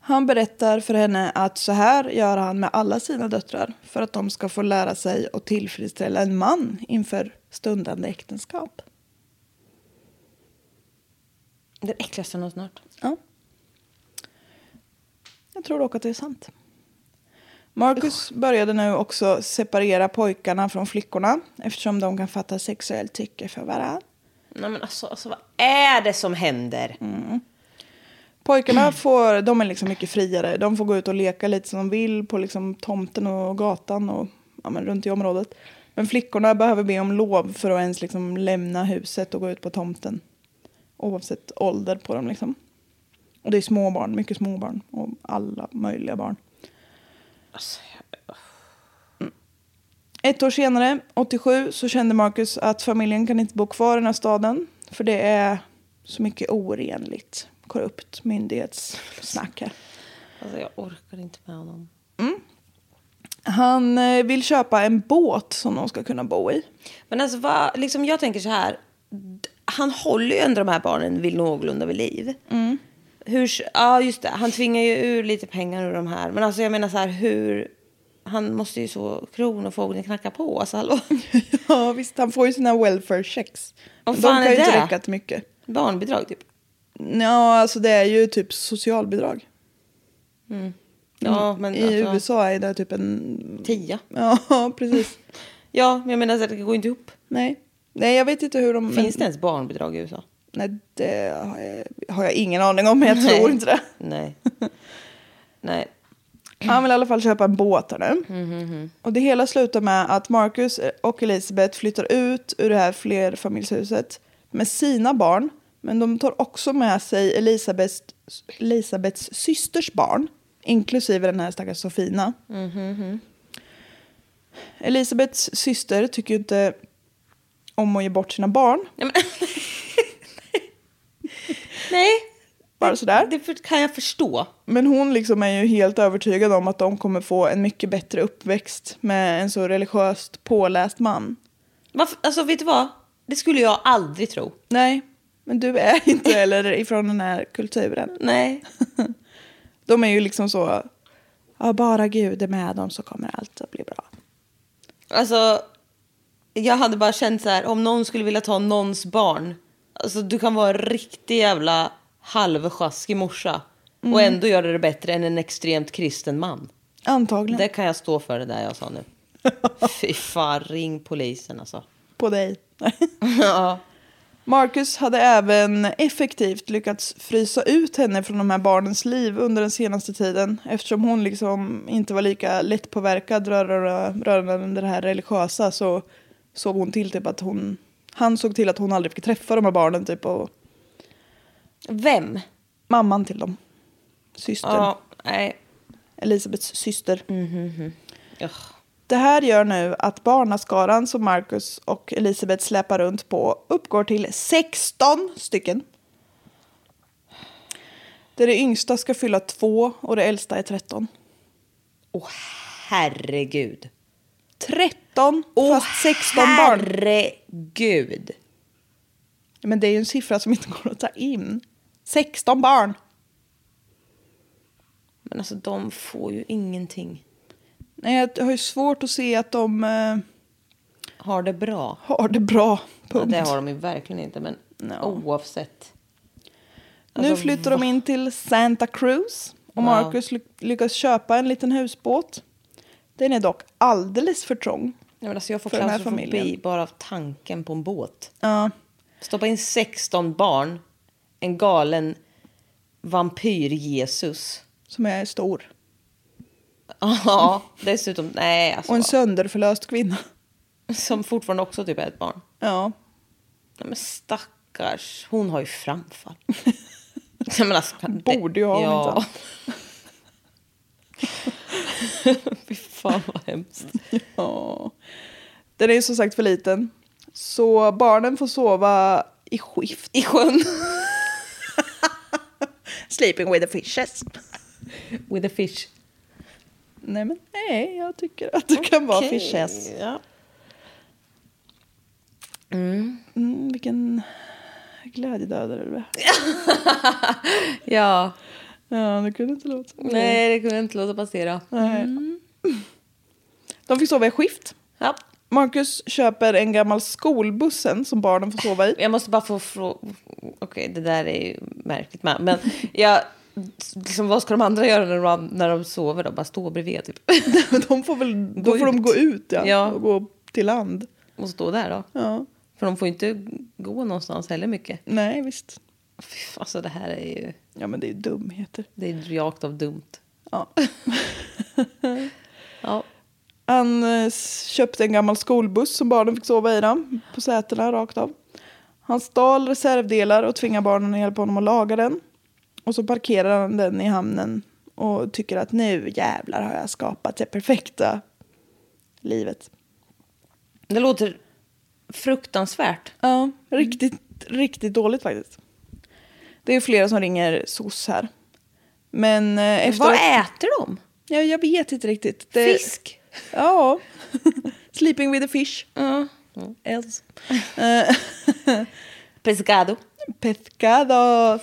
C: Han berättar för henne att så här gör han med alla sina döttrar för att de ska få lära sig att tillfredsställa en man inför stundande äktenskap.
D: Det är det äckligaste jag någonsin hört.
C: Ja. Jag tror dock att det är sant. Marcus började nu också separera pojkarna från flickorna eftersom de kan fatta sexuellt tycke för varandra.
D: Nej men alltså, alltså vad är det som händer?
C: Pojkarna får, de är liksom mycket friare. De får gå ut och leka lite som de vill på liksom tomten och gatan och ja, men runt i området. Men flickorna behöver be om lov för att ens liksom lämna huset och gå ut på tomten. Oavsett ålder på dem liksom. Och det är små barn, mycket små barn och alla möjliga barn.
D: Alltså, jag-
C: Ett år senare, 87, så kände Marcus att familjen kan inte bo kvar i den här staden. För det är så mycket orenligt, korrupt myndighetssnack här.
D: alltså jag orkar inte med honom.
C: Han eh, vill köpa en båt som de ska kunna bo i.
D: Men alltså vad, liksom jag tänker så här. d- Han håller ju ändå de här barnen vid någorlunda vid liv. Hur, s- ja just det, han tvingar ju ur lite pengar ur de här. Men alltså jag menar så här hur, han måste ju så kronofogden knacka på. Alltså hallå.
C: Ja, visst. Han får ju sina welfare checks.
D: Vad
C: Men
D: fan
C: de
D: är
C: kan ju inte
D: det?
C: räcka till mycket.
D: Barnbidrag typ.
C: Ja, alltså det är ju typ socialbidrag.
D: Ja, men
C: I
D: alltså,
C: USA är det typ en...
D: Tia.
C: Ja, precis.
D: Ja, men jag menar så att det går inte ihop.
C: Nej. Nej, jag vet inte hur de...
D: Finns det ens barnbidrag i USA?
C: Nej, det har jag, har jag ingen aning om, men jag tror inte det.
D: Nej. Nej.
C: Han vill i alla fall köpa en båt här nu. Och det hela slutar med att Marcus och Elisabeth flyttar ut ur det här flerfamiljshuset med sina barn. Men de tar också med sig Elisabeths, Elisabeths systers barn, inklusive den här stackars Sofina. Elisabeths syster tycker ju inte om att ge bort sina barn,
D: Nej, men... Nej.
C: bara sådär.
D: Det för- kan jag förstå.
C: Men hon liksom är ju helt övertygad om att de kommer få en mycket bättre uppväxt med en så religiöst påläst man.
D: Varför? Alltså vet du vad? Det skulle jag aldrig tro.
C: Nej, men du är inte heller ifrån den här kulturen.
D: Nej.
C: De är ju liksom så, ja bara Gud är med dem så kommer allt att bli bra.
D: Alltså, jag hade bara känt så här, om någon skulle vilja ta någons barn. Alltså du kan vara en riktig jävla halvsjaskig morsa. Och ändå göra det bättre än en extremt kristen man.
C: Antagligen.
D: Det kan jag stå för det där jag sa nu. Fy fan, ring polisen alltså.
C: På dig. Marcus hade även effektivt lyckats frysa ut henne från de här barnens liv under den senaste tiden eftersom hon liksom inte var lika lättpåverkad rör- rör- rörande det här religiösa så såg hon till typ att hon, han såg till att hon aldrig fick träffa de här barnen typ och
D: Vem?
C: mamman till dem, systern,
D: Ja, nej.
C: Elisabeths syster.
D: Ugh.
C: Det här gör nu att barnaskaran som Marcus och Elisabeth släpar runt på uppgår till 16 stycken. Där det yngsta ska fylla två och det äldsta är 13.
D: Åh herregud.
C: 13 fast 16 barn.
D: Herregud.
C: Men det är ju en siffra som inte går att ta in. 16 barn.
D: Men alltså de får ju ingenting.
C: Nej, jag har ju svårt att se att de eh,
D: Har det bra.
C: har det bra.
D: Ja,
C: Punkt.
D: det har de ju verkligen inte, men oavsett. Alltså,
C: nu flyttar de in till Santa Cruz och Marcus ly- lyckas köpa en liten husbåt. Den är dock alldeles för trång.
D: Nej, men alltså jag får
C: För den här
D: klaustrofobi
C: familjen.
D: bara av tanken på en båt.
C: Ja.
D: Stoppa in 16 barn, en galen vampyr-Jesus.
C: som är stor.
D: Ja, dessutom, nej alltså.
C: Och en sönderförlöst kvinna.
D: Som fortfarande också typ är ett barn.
C: Ja.
D: Nej, men stackars, hon har ju framfall. Nej, men alltså, kan det-
C: Borde ju ha, om
D: ja.
C: inte
D: Fy fan vad hemskt.
C: ja. Den är ju som sagt för liten. Så barnen får sova i skift.
D: I sjön.
C: Sleeping with the fishes.
D: With a fish.
C: Nej men nej, jag tycker att det kan vara
D: Okej,
C: fishes.
D: Ja.
C: Mm, vilken glädjedödare du är.
D: ja.
C: Ja, det kunde inte låta.
D: Nej, det kunde jag inte låta passera.
C: De fick sova i skift.
D: Ja.
C: Marcus köper en gammal skolbussen som barnen får sova i.
D: Jag måste bara få fråga... Okej, det där är ju märkligt med. Men jag... Liksom, vad ska de andra göra när de, när de sover? Då? Bara stå bredvid typ.
C: De får väl, då
D: Gå
C: får de
D: ut.
C: gå ut ja,
D: Ja.
C: och gå till land.
D: Och stå där då.
C: Ja.
D: För de får ju inte gå någonstans heller mycket.
C: Nej, visst.
D: Fy, Alltså det här är ju...
C: Ja, men det är dumheter.
D: Det är rakt av dumt.
C: Ja.
D: Ja.
C: Han eh, köpte en gammal skolbuss som barnen fick sova i den, på sätena rakt av. Han stal reservdelar och tvingade barnen att hjälpa honom att laga den. Och så parkerar han den i hamnen och tycker att nu jävlar har jag skapat det perfekta livet.
D: Det låter fruktansvärt.
C: Ja, riktigt, riktigt dåligt faktiskt. Det är flera som ringer SOS här. Men eh, efter...
D: Vad äter de?
C: Ja, jag vet inte riktigt.
D: Eh,
C: Det-
D: Fisk?
C: Ja. Sleeping with a fish.
D: Ja.
C: Els.
D: Eh. Pescado?
C: Pescado.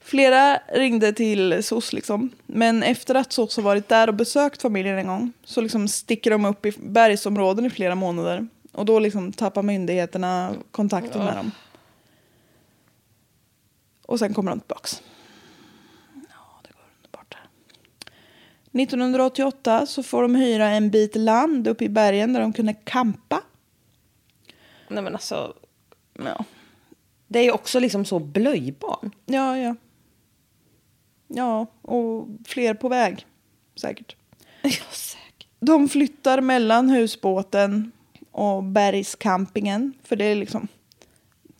C: Flera ringde till SOS liksom. Men efter att SOS har varit där och besökt familjen en gång så liksom sticker de upp i bergsområden i flera månader. Och då liksom tappar myndigheterna kontakten med dem. Och sen kommer de tillbaks. Ja, det går underbart. 1988 så får de hyra en bit land uppe i bergen där de kunde kampa.
D: Nej men alltså,
C: Ja,
D: det är ju också liksom så blöjbarn.
C: ja, ja. Ja, och fler på väg säkert.
D: Ja, säkert.
C: De flyttar mellan husbåten och bergscampingen. För det är liksom...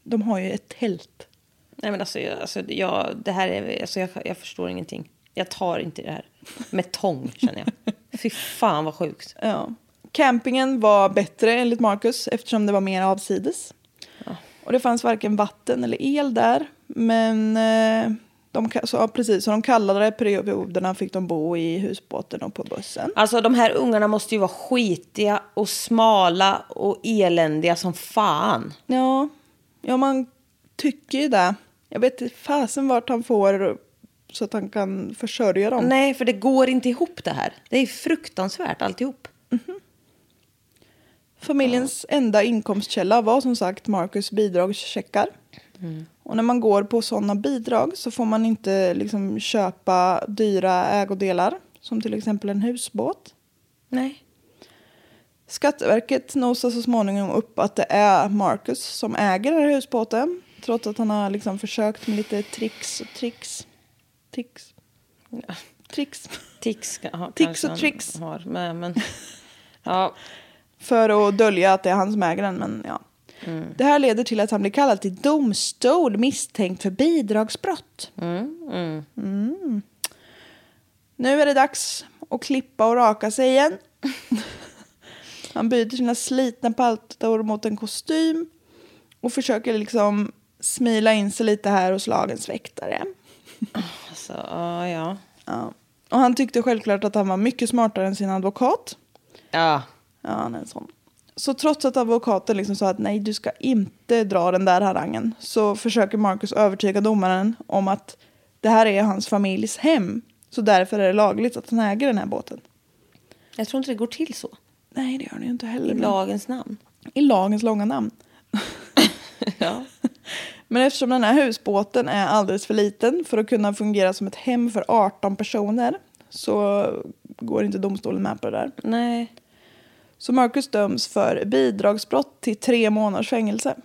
C: De har ju ett tält.
D: Nej men alltså, jag, alltså, jag, det här är, alltså jag, jag förstår ingenting. Jag tar inte det här. Med tång känner jag. Fy fan vad sjukt.
C: Ja. Campingen var bättre enligt Marcus eftersom det var mer avsides. Och det fanns varken vatten eller el där. Men eh, de, ka- så, ja, precis, så de kallade perioderna fick de bo i husbåten och på bussen.
D: Alltså de här ungarna måste ju vara skitiga och smala och eländiga som fan.
C: Ja, ja man tycker ju det. Jag vet inte fasen vart han får så att han kan försörja dem.
D: Nej, för det går inte ihop det här. Det är fruktansvärt alltihop.
C: Familjens enda inkomstkälla var som sagt Marcus bidragscheckar. Och när man går på sådana bidrag så får man inte liksom köpa dyra ägodelar som till exempel en husbåt.
D: Nej.
C: Skatteverket nosar så småningom upp att det är Marcus som äger den här husbåten trots att han har liksom försökt med lite tricks och tricks. Tricks. Tricks.
D: Tics, ja,
C: Tics
D: kanske
C: och
D: han
C: tricks.
D: Har, men, men, ja,
C: För att dölja att det är han som äger den, men ja. Det här leder till att han blir kallad till domstol misstänkt för bidragsbrott. Mm. Nu är det dags att klippa och raka sig igen. han byter sina slitna paltor mot en kostym och försöker liksom smila in sig lite här hos lagens väktare.
D: alltså, ja, ja.
C: Ja. Och han tyckte självklart att han var mycket smartare än sin advokat.
D: Ja,
C: Ja, han är en sån. Så trots att advokaten liksom sa att nej, du ska inte dra den där harangen så försöker Marcus övertyga domaren om att det här är hans familjs hem. Så därför är det lagligt att han äger den här båten.
D: jag tror inte det går till så.
C: Nej, det gör ni ju inte
D: I
C: heller. men-
D: lagens namn.
C: I lagens långa namn.
D: Ja.
C: Men eftersom den här husbåten är alldeles för liten för att kunna fungera som ett hem för 18 personer så går inte domstolen med på det där.
D: Nej.
C: Så Marcus döms för bidragsbrott till tre månaders fängelse.